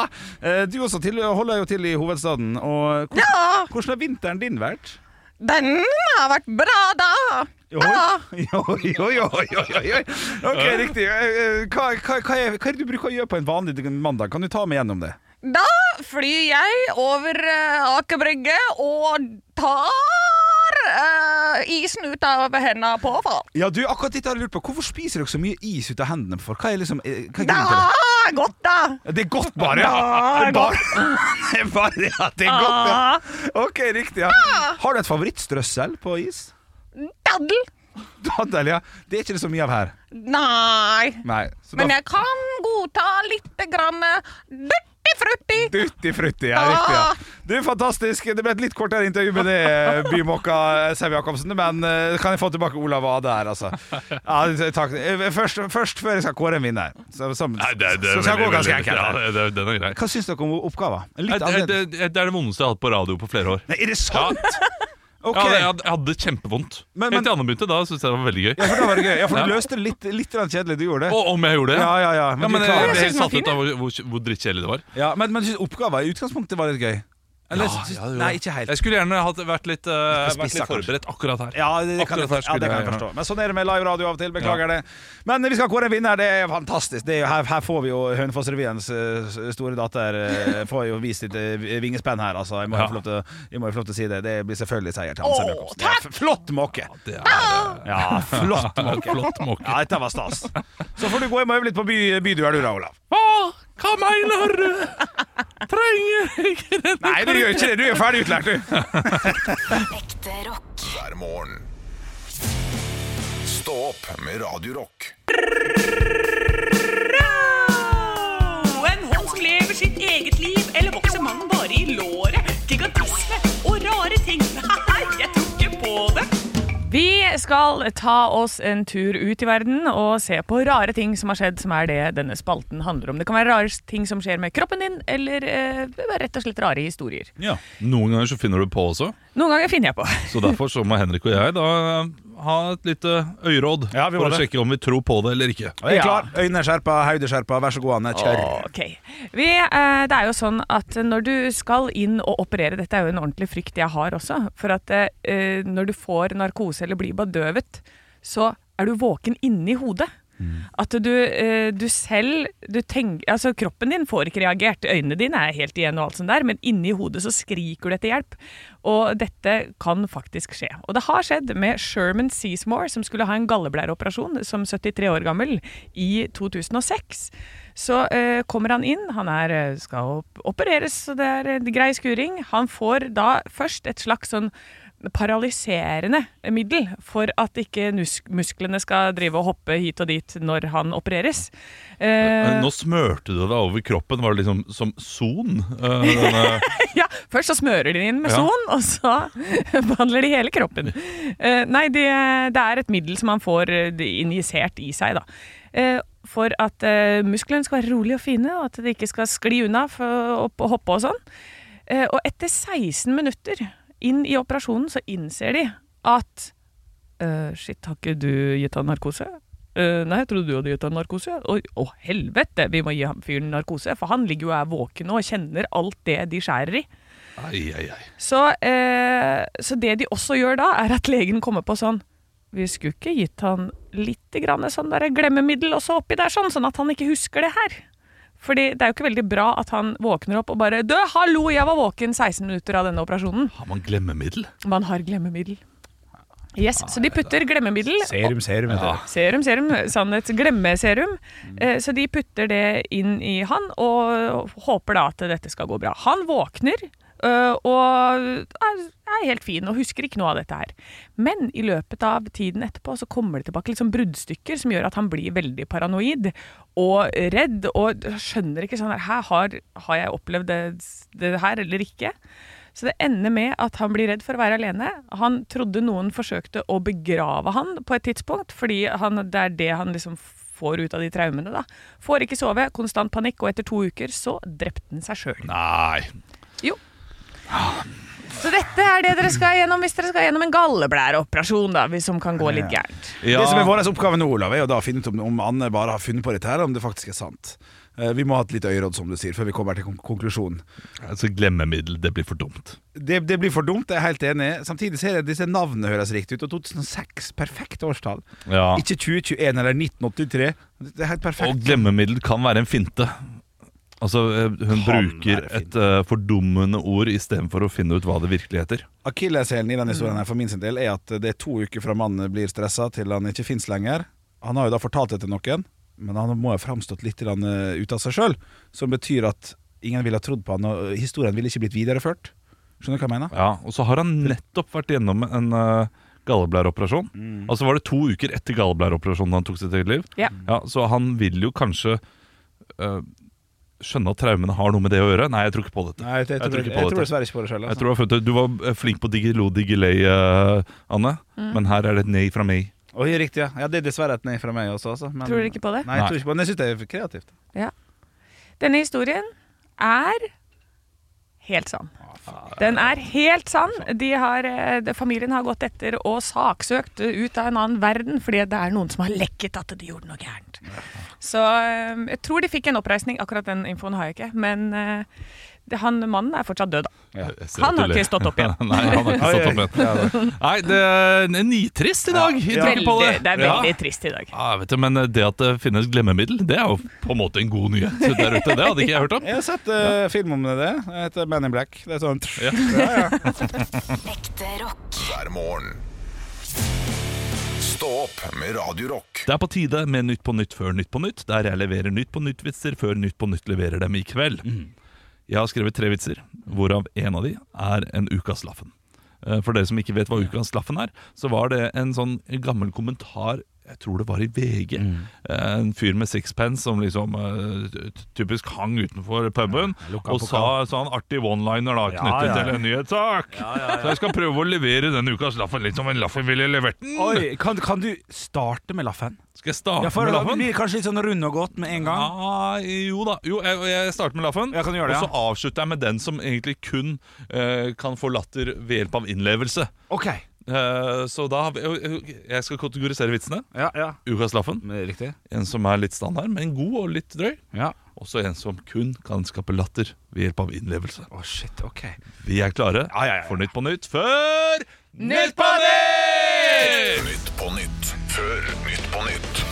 Speaker 2: Eh, Du også til, holder jo til i hovedstaden. Og hvordan, hvordan har vinteren din vært?
Speaker 10: Den har vært bra, da.
Speaker 2: Oi, oi, oi, oi, oi, oi. Ok, riktig. Eh, eh, Hva, hva, hva, er, hva er det du bruker å gjøre på en vanlig mandag? Kan du ta meg gjennom det?
Speaker 10: Da flyr jeg over uh, Aker Brygge og tar eh, isen ut av hendene på folk.
Speaker 2: Ja, du, akkurat dette har jeg lurt på Hvorfor spiser dere så mye is ut av hendene for? Hva er liksom eh, Hva er
Speaker 10: Da
Speaker 2: grunnen til det?
Speaker 10: er godt, da.
Speaker 2: Ja, Det er godt bare, ja Det er bare, det er bare ja, det er godt
Speaker 4: Ah.
Speaker 2: ja.
Speaker 9: Ah.
Speaker 2: Ok, riktig ja. Har du et favorittstrøssel på is?
Speaker 10: Daddel.
Speaker 2: Daddel, ja Det er ikke det så mye av her
Speaker 10: Nei.
Speaker 2: Nei så
Speaker 10: Men
Speaker 2: da-
Speaker 10: jeg kan godta litt grann dutti-frutti.
Speaker 2: Dutti frutti, ja, riktig ja Du, fantastisk Det ble et litt kortere intervju med det eh, Bymåka Sev Jakobsen Men eh, kan jeg få tilbake Olav og Ada her, altså Ja, takk Eh, Først, først før jeg skal kåre en vinner Så, så, så skal jeg gå ganske enkelt her
Speaker 3: den er grei. Eh,
Speaker 2: Hva syns dere om oppgaven? Litt
Speaker 3: Det,
Speaker 2: annerledes.
Speaker 3: er det vondeste jeg har hatt på radio på flere år.
Speaker 2: Nei, er det sant?! Ok,
Speaker 3: Ja, jeg,
Speaker 2: ja,
Speaker 3: hadde, jeg hadde kjempevondt.
Speaker 2: Men- men-
Speaker 3: Helt til Anne begynte, da syntes jeg det var veldig gøy.
Speaker 2: for da var det gøy. Ja, for du
Speaker 3: Ja.
Speaker 2: løste det litt, litt grann kjedelig. Du gjorde det.
Speaker 3: Og om jeg gjorde det?
Speaker 2: Ja, ja, ja.
Speaker 3: Ja,
Speaker 2: Men,
Speaker 3: men
Speaker 2: du
Speaker 3: jeg
Speaker 2: klarer
Speaker 3: jeg
Speaker 2: det.
Speaker 3: er helt satt ut av hvor, hvor, hvor drittkjedelig det var.
Speaker 2: ja, men, men synes oppgaven i utgangspunktet var litt gøy. Eller,
Speaker 3: Ja,
Speaker 2: synes-
Speaker 3: ja, det gjorde
Speaker 2: nei,
Speaker 3: det.
Speaker 2: ikke helt.
Speaker 3: Jeg skulle gjerne hatt, vært litt, eh,
Speaker 2: Jeg skal
Speaker 3: vært
Speaker 2: spisse,
Speaker 3: litt
Speaker 2: kanskje.
Speaker 3: forberedt akkurat her.
Speaker 2: Ja, det, kan, jeg-
Speaker 3: Akkurat her
Speaker 2: ja,
Speaker 3: skulle
Speaker 2: det kan jeg
Speaker 3: jeg-
Speaker 2: forstå. Men sånn er det med live radio av og til. Beklager det. Men vi skal kåre en vinner. Det er fantastisk. Det er, jo- her, her får vi jo Hønefoss-revyens eh, store datter eh, Får jo vist sitt eh, vingespenn her, altså. Jeg må jo
Speaker 3: Ja.
Speaker 2: få lov til å- jeg må jo få lov til å si det. Det blir selvfølgelig seier til
Speaker 10: Åh,
Speaker 2: Hansen Jacobsen. Det er f- Flott måke!
Speaker 3: Det
Speaker 9: Ah!
Speaker 3: er
Speaker 2: Ja, flott
Speaker 3: eh, en
Speaker 2: måke.
Speaker 3: flott måke.
Speaker 2: Ja, dette var stas. Så får du gå hjem og øve litt på by, byduer, du da, Olav.
Speaker 3: Hva, hva mener du? Trenger jeg ikke denne
Speaker 2: Nei, du gjør ikke det. Du er ferdig utlært, du.
Speaker 6: Ekte rock.
Speaker 1: hver morgen. Stå opp med Radio Rock.
Speaker 9: En hånd som lever sitt eget liv, eller vokser mannen bare i låret? Gigantisme og rare ting. Nei, jeg tror ikke på det. Vi skal ta oss en tur ut i verden og se på rare ting som har skjedd, som er det denne spalten handler om. Det kan være rare ting som skjer med kroppen din, eller eh, rett og slett rare historier.
Speaker 3: Noen ganger så finner du på også,
Speaker 9: Noen ganger finner jeg på.
Speaker 3: så derfor så må Henrik og jeg da eh, ha et lite øyeråd
Speaker 2: Ja, vi må
Speaker 3: for å
Speaker 2: det.
Speaker 3: sjekke om vi tror på det eller ikke.
Speaker 2: Jeg er
Speaker 9: Ja.
Speaker 2: klar. Øynene er skjerpa, hodet er skjerpa. Vær så god, Anne. Kjør.
Speaker 9: Ok. Vi, eh, det er jo sånn at når du skal inn og operere, dette er jo en ordentlig frykt jeg har også, for at eh, når du får narkose eller blir bedøvet, så er du våken inni hodet. At du, eh, du selv du tenk, altså Kroppen din får ikke reagert, øynene dine er helt igjen, og alt sånt der, men inni hodet så skriker du etter hjelp. Og dette kan faktisk skje. Og det har skjedd med Sherman Seasmore, som skulle ha en galleblæreoperasjon som 73 år gammel i 2006. Så eh, kommer han inn, han er, eh, skal op- opereres, så det er en grei skuring. Han får da først et slags sånn paralyserende middel for at ikke nus- musklene skal drive og hoppe hit og dit når han opereres. Eh,
Speaker 3: Nå smørte du deg over kroppen, var det liksom som son? eh, denne-
Speaker 9: ja, først så smører de den inn med
Speaker 3: Ja.
Speaker 9: son, og så behandler de hele kroppen. Eh, nei, det, det er et middel som man får eh, injisert i seg, da. Eh, for at eh, musklene skal være rolige og fine, og at de ikke skal skli unna for, opp og hoppe og sånn. Eh, og etter 16 minutter inn i operasjonen så innser de at eh, Shit, har ikke du gitt han narkose? «Eh, Nei, jeg trodde du hadde gitt ham narkose. Å, å, helvete, vi må gi ham fyren narkose, for han ligger jo og er våken nå og kjenner alt det de skjærer i.
Speaker 3: Ai, ai, ai.
Speaker 9: Så, eh, så det de også gjør da, er at legen kommer på sånn Vi skulle ikke gitt han litt grann sånn der glemmemiddel også oppi der, sånn, sånn at han ikke husker det her. Fordi det er jo ikke veldig bra at han våkner opp og bare Du, hallo, jeg var våken 16 minutter av denne operasjonen.
Speaker 3: Har man glemmemiddel?
Speaker 9: Man har glemmemiddel. Yes, Så de putter glemmemiddel
Speaker 2: Serum, serum. heter det.
Speaker 9: Serum, serum, sannhet, glemmeserum. Eh, Så de putter det inn i han og håper da at dette skal gå bra. Han våkner eh, og er er helt fin og husker ikke noe av dette her. Men i løpet av tiden etterpå så kommer det tilbake litt sånn bruddstykker som gjør at han blir veldig paranoid og redd og skjønner ikke sånn her «Hæ, har, har jeg opplevd det, det her eller ikke? Så det ender med at han blir redd for å være alene. Han trodde noen forsøkte å begrave han på et tidspunkt, fordi han, det er det han liksom får ut av de traumene, da. Får ikke sove, konstant panikk, og etter to uker så drepte han seg sjøl.
Speaker 3: Nei.
Speaker 9: Så dette er det dere skal gjennom hvis dere skal gjennom en galleblæreoperasjon, da, hvis som kan gå litt gærent.
Speaker 3: Ja.
Speaker 2: Det som er vår oppgave nå, Olav, er jo da å finne ut om, om Anne bare har funnet på dette her, om det faktisk er sant. Eh, Vi må ha et lite øyeråd, som du sier, før vi kommer til kon- konklusjonen.
Speaker 3: Altså, glemmemiddel, det blir for dumt.
Speaker 2: Det, det blir for dumt, jeg er helt enig. Samtidig ser jeg at disse navnene høres riktig ut. Og 2006, perfekt årstall.
Speaker 3: Ja.
Speaker 2: Ikke 2021 eller 1983. Det er helt perfekt.
Speaker 3: Og glemmemiddel kan være en finte. Altså, eh,
Speaker 2: Kan
Speaker 3: hun bruker
Speaker 2: være
Speaker 3: et eh, fordummende ord istedenfor å finne ut hva det virkelig heter.
Speaker 2: Akilleshælen i denne historien her for min sin del er at det er to uker fra mannen blir stressa til han ikke fins lenger. Han har jo da fortalt det til noen, men han må ha framstått litt grann, eh, ut av seg sjøl. Som betyr at ingen ville ha trodd på han, og historien ville ikke blitt videreført. Skjønner du hva jeg mener?
Speaker 3: Ja, Og så har han nettopp vært gjennom en eh, galleblæreoperasjon. Altså var det to uker etter galleblæreoperasjonen han tok sitt eget liv.
Speaker 9: Ja.
Speaker 3: Så han vil jo kanskje eh, skjønne at traumene har noe med det å gjøre. Nei, jeg tror ikke på dette.
Speaker 2: Nei, jeg, jeg,
Speaker 3: tror
Speaker 2: tror,
Speaker 3: ikke
Speaker 2: jeg,
Speaker 3: på
Speaker 2: tror
Speaker 3: dette.
Speaker 2: dessverre ikke på det sjøl.
Speaker 3: Jeg
Speaker 2: Altså.
Speaker 3: tror du har funnet ut- Du var eh, flink på digilo digilei, eh, Anne,
Speaker 9: Mm.
Speaker 3: men her er det et nei fra meg.
Speaker 2: Oi, riktig, ja. ja. Det er dessverre et nei fra meg også. Altså. Men,
Speaker 9: Tror dere ikke på det?
Speaker 2: Nei, jeg tror ikke på det. Men jeg syns det er kreativt.
Speaker 9: Denne historien er helt sann. Den er helt sann. De har, eh, de- familien har gått etter og saksøkt ut av en annen verden fordi det er noen som har lekket at de gjorde noe gærent. Så eh, jeg tror de fikk en oppreisning. Akkurat den infoen har jeg ikke. Men eh, det, han mannen er fortsatt død, da.
Speaker 3: Jeg ser
Speaker 9: Han
Speaker 3: at du
Speaker 9: har ikke
Speaker 3: ler.
Speaker 9: stått opp igjen.
Speaker 3: Nei, han har ikke stått opp
Speaker 2: Ja,
Speaker 3: igjen.
Speaker 2: det-
Speaker 3: Nei, det er nitrist i dag. Jeg tror
Speaker 9: Veldig,
Speaker 3: ikke på det.
Speaker 9: det er veldig trist i dag.
Speaker 3: Ja. Ja, vet du, men det at det finnes glemmemiddel, det er jo på en måte en god nyhet der ute. Det hadde ikke jeg hørt om.
Speaker 2: Jeg har sett eh, film om det. Det heter Man in Black. Det er sånn
Speaker 3: Ja.
Speaker 2: ja, ja.
Speaker 6: Ekte rock.
Speaker 1: hver morgen. Stå opp med Radio Rock.
Speaker 3: Det er på tide med Nytt på nytt før Nytt på nytt, der jeg leverer Nytt på nytt-vitser før Nytt på nytt leverer dem i kveld.
Speaker 2: Mm.
Speaker 3: Jeg har skrevet tre vitser, hvorav en av de er en Ukas Laffen. Eh, For dere som ikke vet hva Ukas Laffen er, så var det en sånn gammel kommentar jeg tror det var i VG.
Speaker 2: Mm.
Speaker 3: Eh, En fyr med sixpence som liksom eh, t- typisk hang utenfor puben
Speaker 2: lukka
Speaker 3: og sa
Speaker 2: pokal.
Speaker 3: sa en artig one-liner da,
Speaker 2: Ja,
Speaker 3: knyttet
Speaker 2: ja, ja.
Speaker 3: til en nyhetssak. Så jeg skal prøve å levere den ukas laffen litt som en laffen ville levert den.
Speaker 2: Oi, kan, kan du starte med laffen?
Speaker 3: Skal jeg starte
Speaker 2: Ja, for
Speaker 3: med
Speaker 2: da
Speaker 3: laffen?
Speaker 2: blir det kanskje litt sånn rund og godt med en gang.
Speaker 3: Ja, Ah, jo da. Jo, jeg, jeg starter med laffen,
Speaker 2: Ja, kan du gjøre det,
Speaker 3: og så avslutter jeg med den som egentlig kun eh, kan få latter ved hjelp av innlevelse.
Speaker 2: Ok.
Speaker 3: Eh, så da har vi jo, jo, Jeg skal kategorisere vitsene.
Speaker 2: Ja, ja.
Speaker 3: Ukas laffen.
Speaker 2: Riktig.
Speaker 3: En som er litt standard, men god og litt drøy.
Speaker 2: Ja.
Speaker 3: Og så en som kun kan skape latter ved hjelp av innlevelse.
Speaker 2: Å, shit. Ok.
Speaker 3: Vi er klare
Speaker 2: Ja, ja, ja.
Speaker 3: for Nytt på nytt før Nytt på nytt!
Speaker 1: Nytt på nytt før Nytt på nytt.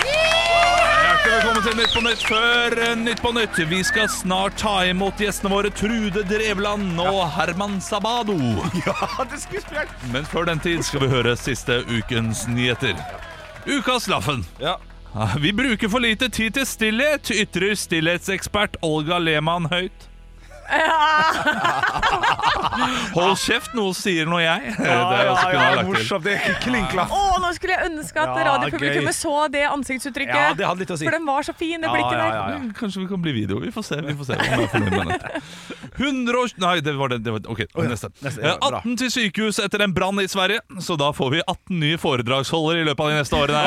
Speaker 3: Hjertelig velkommen til Nytt på Nytt før eh, Nytt på Nytt. Vi skal snart ta imot gjestene våre Trude Drevland og Herman Sabado.
Speaker 2: Ja, det skulle spjelt!
Speaker 3: Men før den tid skal vi høre siste ukens nyheter. Ukas Laffen.
Speaker 2: Ja.
Speaker 3: Ah, Vi bruker for lite tid til stillhet, ytrer stillhetsekspert Olga Lehmann høyt. Hold kjeft, noe sier noe jeg. Det er også kunne jeg lagt til.
Speaker 2: morsomt. Det er klinklaff.
Speaker 9: Å, nå skulle jeg ønske at
Speaker 2: Ja, gøy.
Speaker 9: radiopublikummet så det ansiktsuttrykket!
Speaker 2: Ja, det hadde litt å si.
Speaker 9: For den var så fin, det
Speaker 2: Ja,
Speaker 9: blikket
Speaker 2: ja,
Speaker 9: der.
Speaker 2: ja, ja.
Speaker 3: Kanskje vi kan bli video. Vi får se. vi får se om jeg er fornøyd med dette. 100 år... Nei, det var det. det var, ok, neste.
Speaker 2: Neste, ja,
Speaker 3: Eh,
Speaker 2: bra.
Speaker 3: 18 til sykehus etter en brann i Sverige, så da får vi 18 nye foredragsholdere i løpet av de neste årene.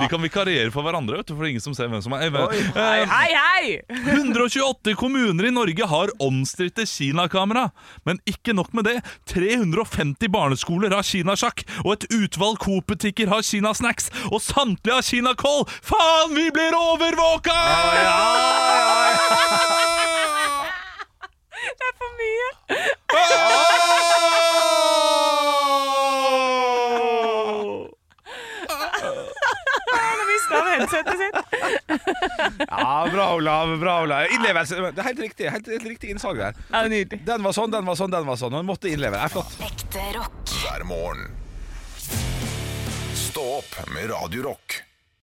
Speaker 3: De kan vikariere for hverandre, vet du, for det er ingen som ser hvem som er hvem.
Speaker 2: Oi.
Speaker 3: Eh,
Speaker 9: Hei, jeg!
Speaker 3: 128 kommuner i Norge har omstridte Kinakamera. Men ikke nok med det. 350 barneskoler har kinasjakk, og et utvalg Coop-butikker har kinasnacks. Og samtlige har kinakål! Faen, vi blir overvåka!
Speaker 9: Det er for mye. Han har mista headsetet sitt.
Speaker 2: Ja, bra, Olav. bra, Olav Innlevelse. Det er helt riktig, helt, helt riktig innsalg der.
Speaker 9: Ja, nydelig.
Speaker 2: Den var sånn, den var sånn, den var sånn. Og den måtte innleve. Det er flott.
Speaker 6: Ekte rock.
Speaker 1: hver morgen. Stå opp med Radio Rock.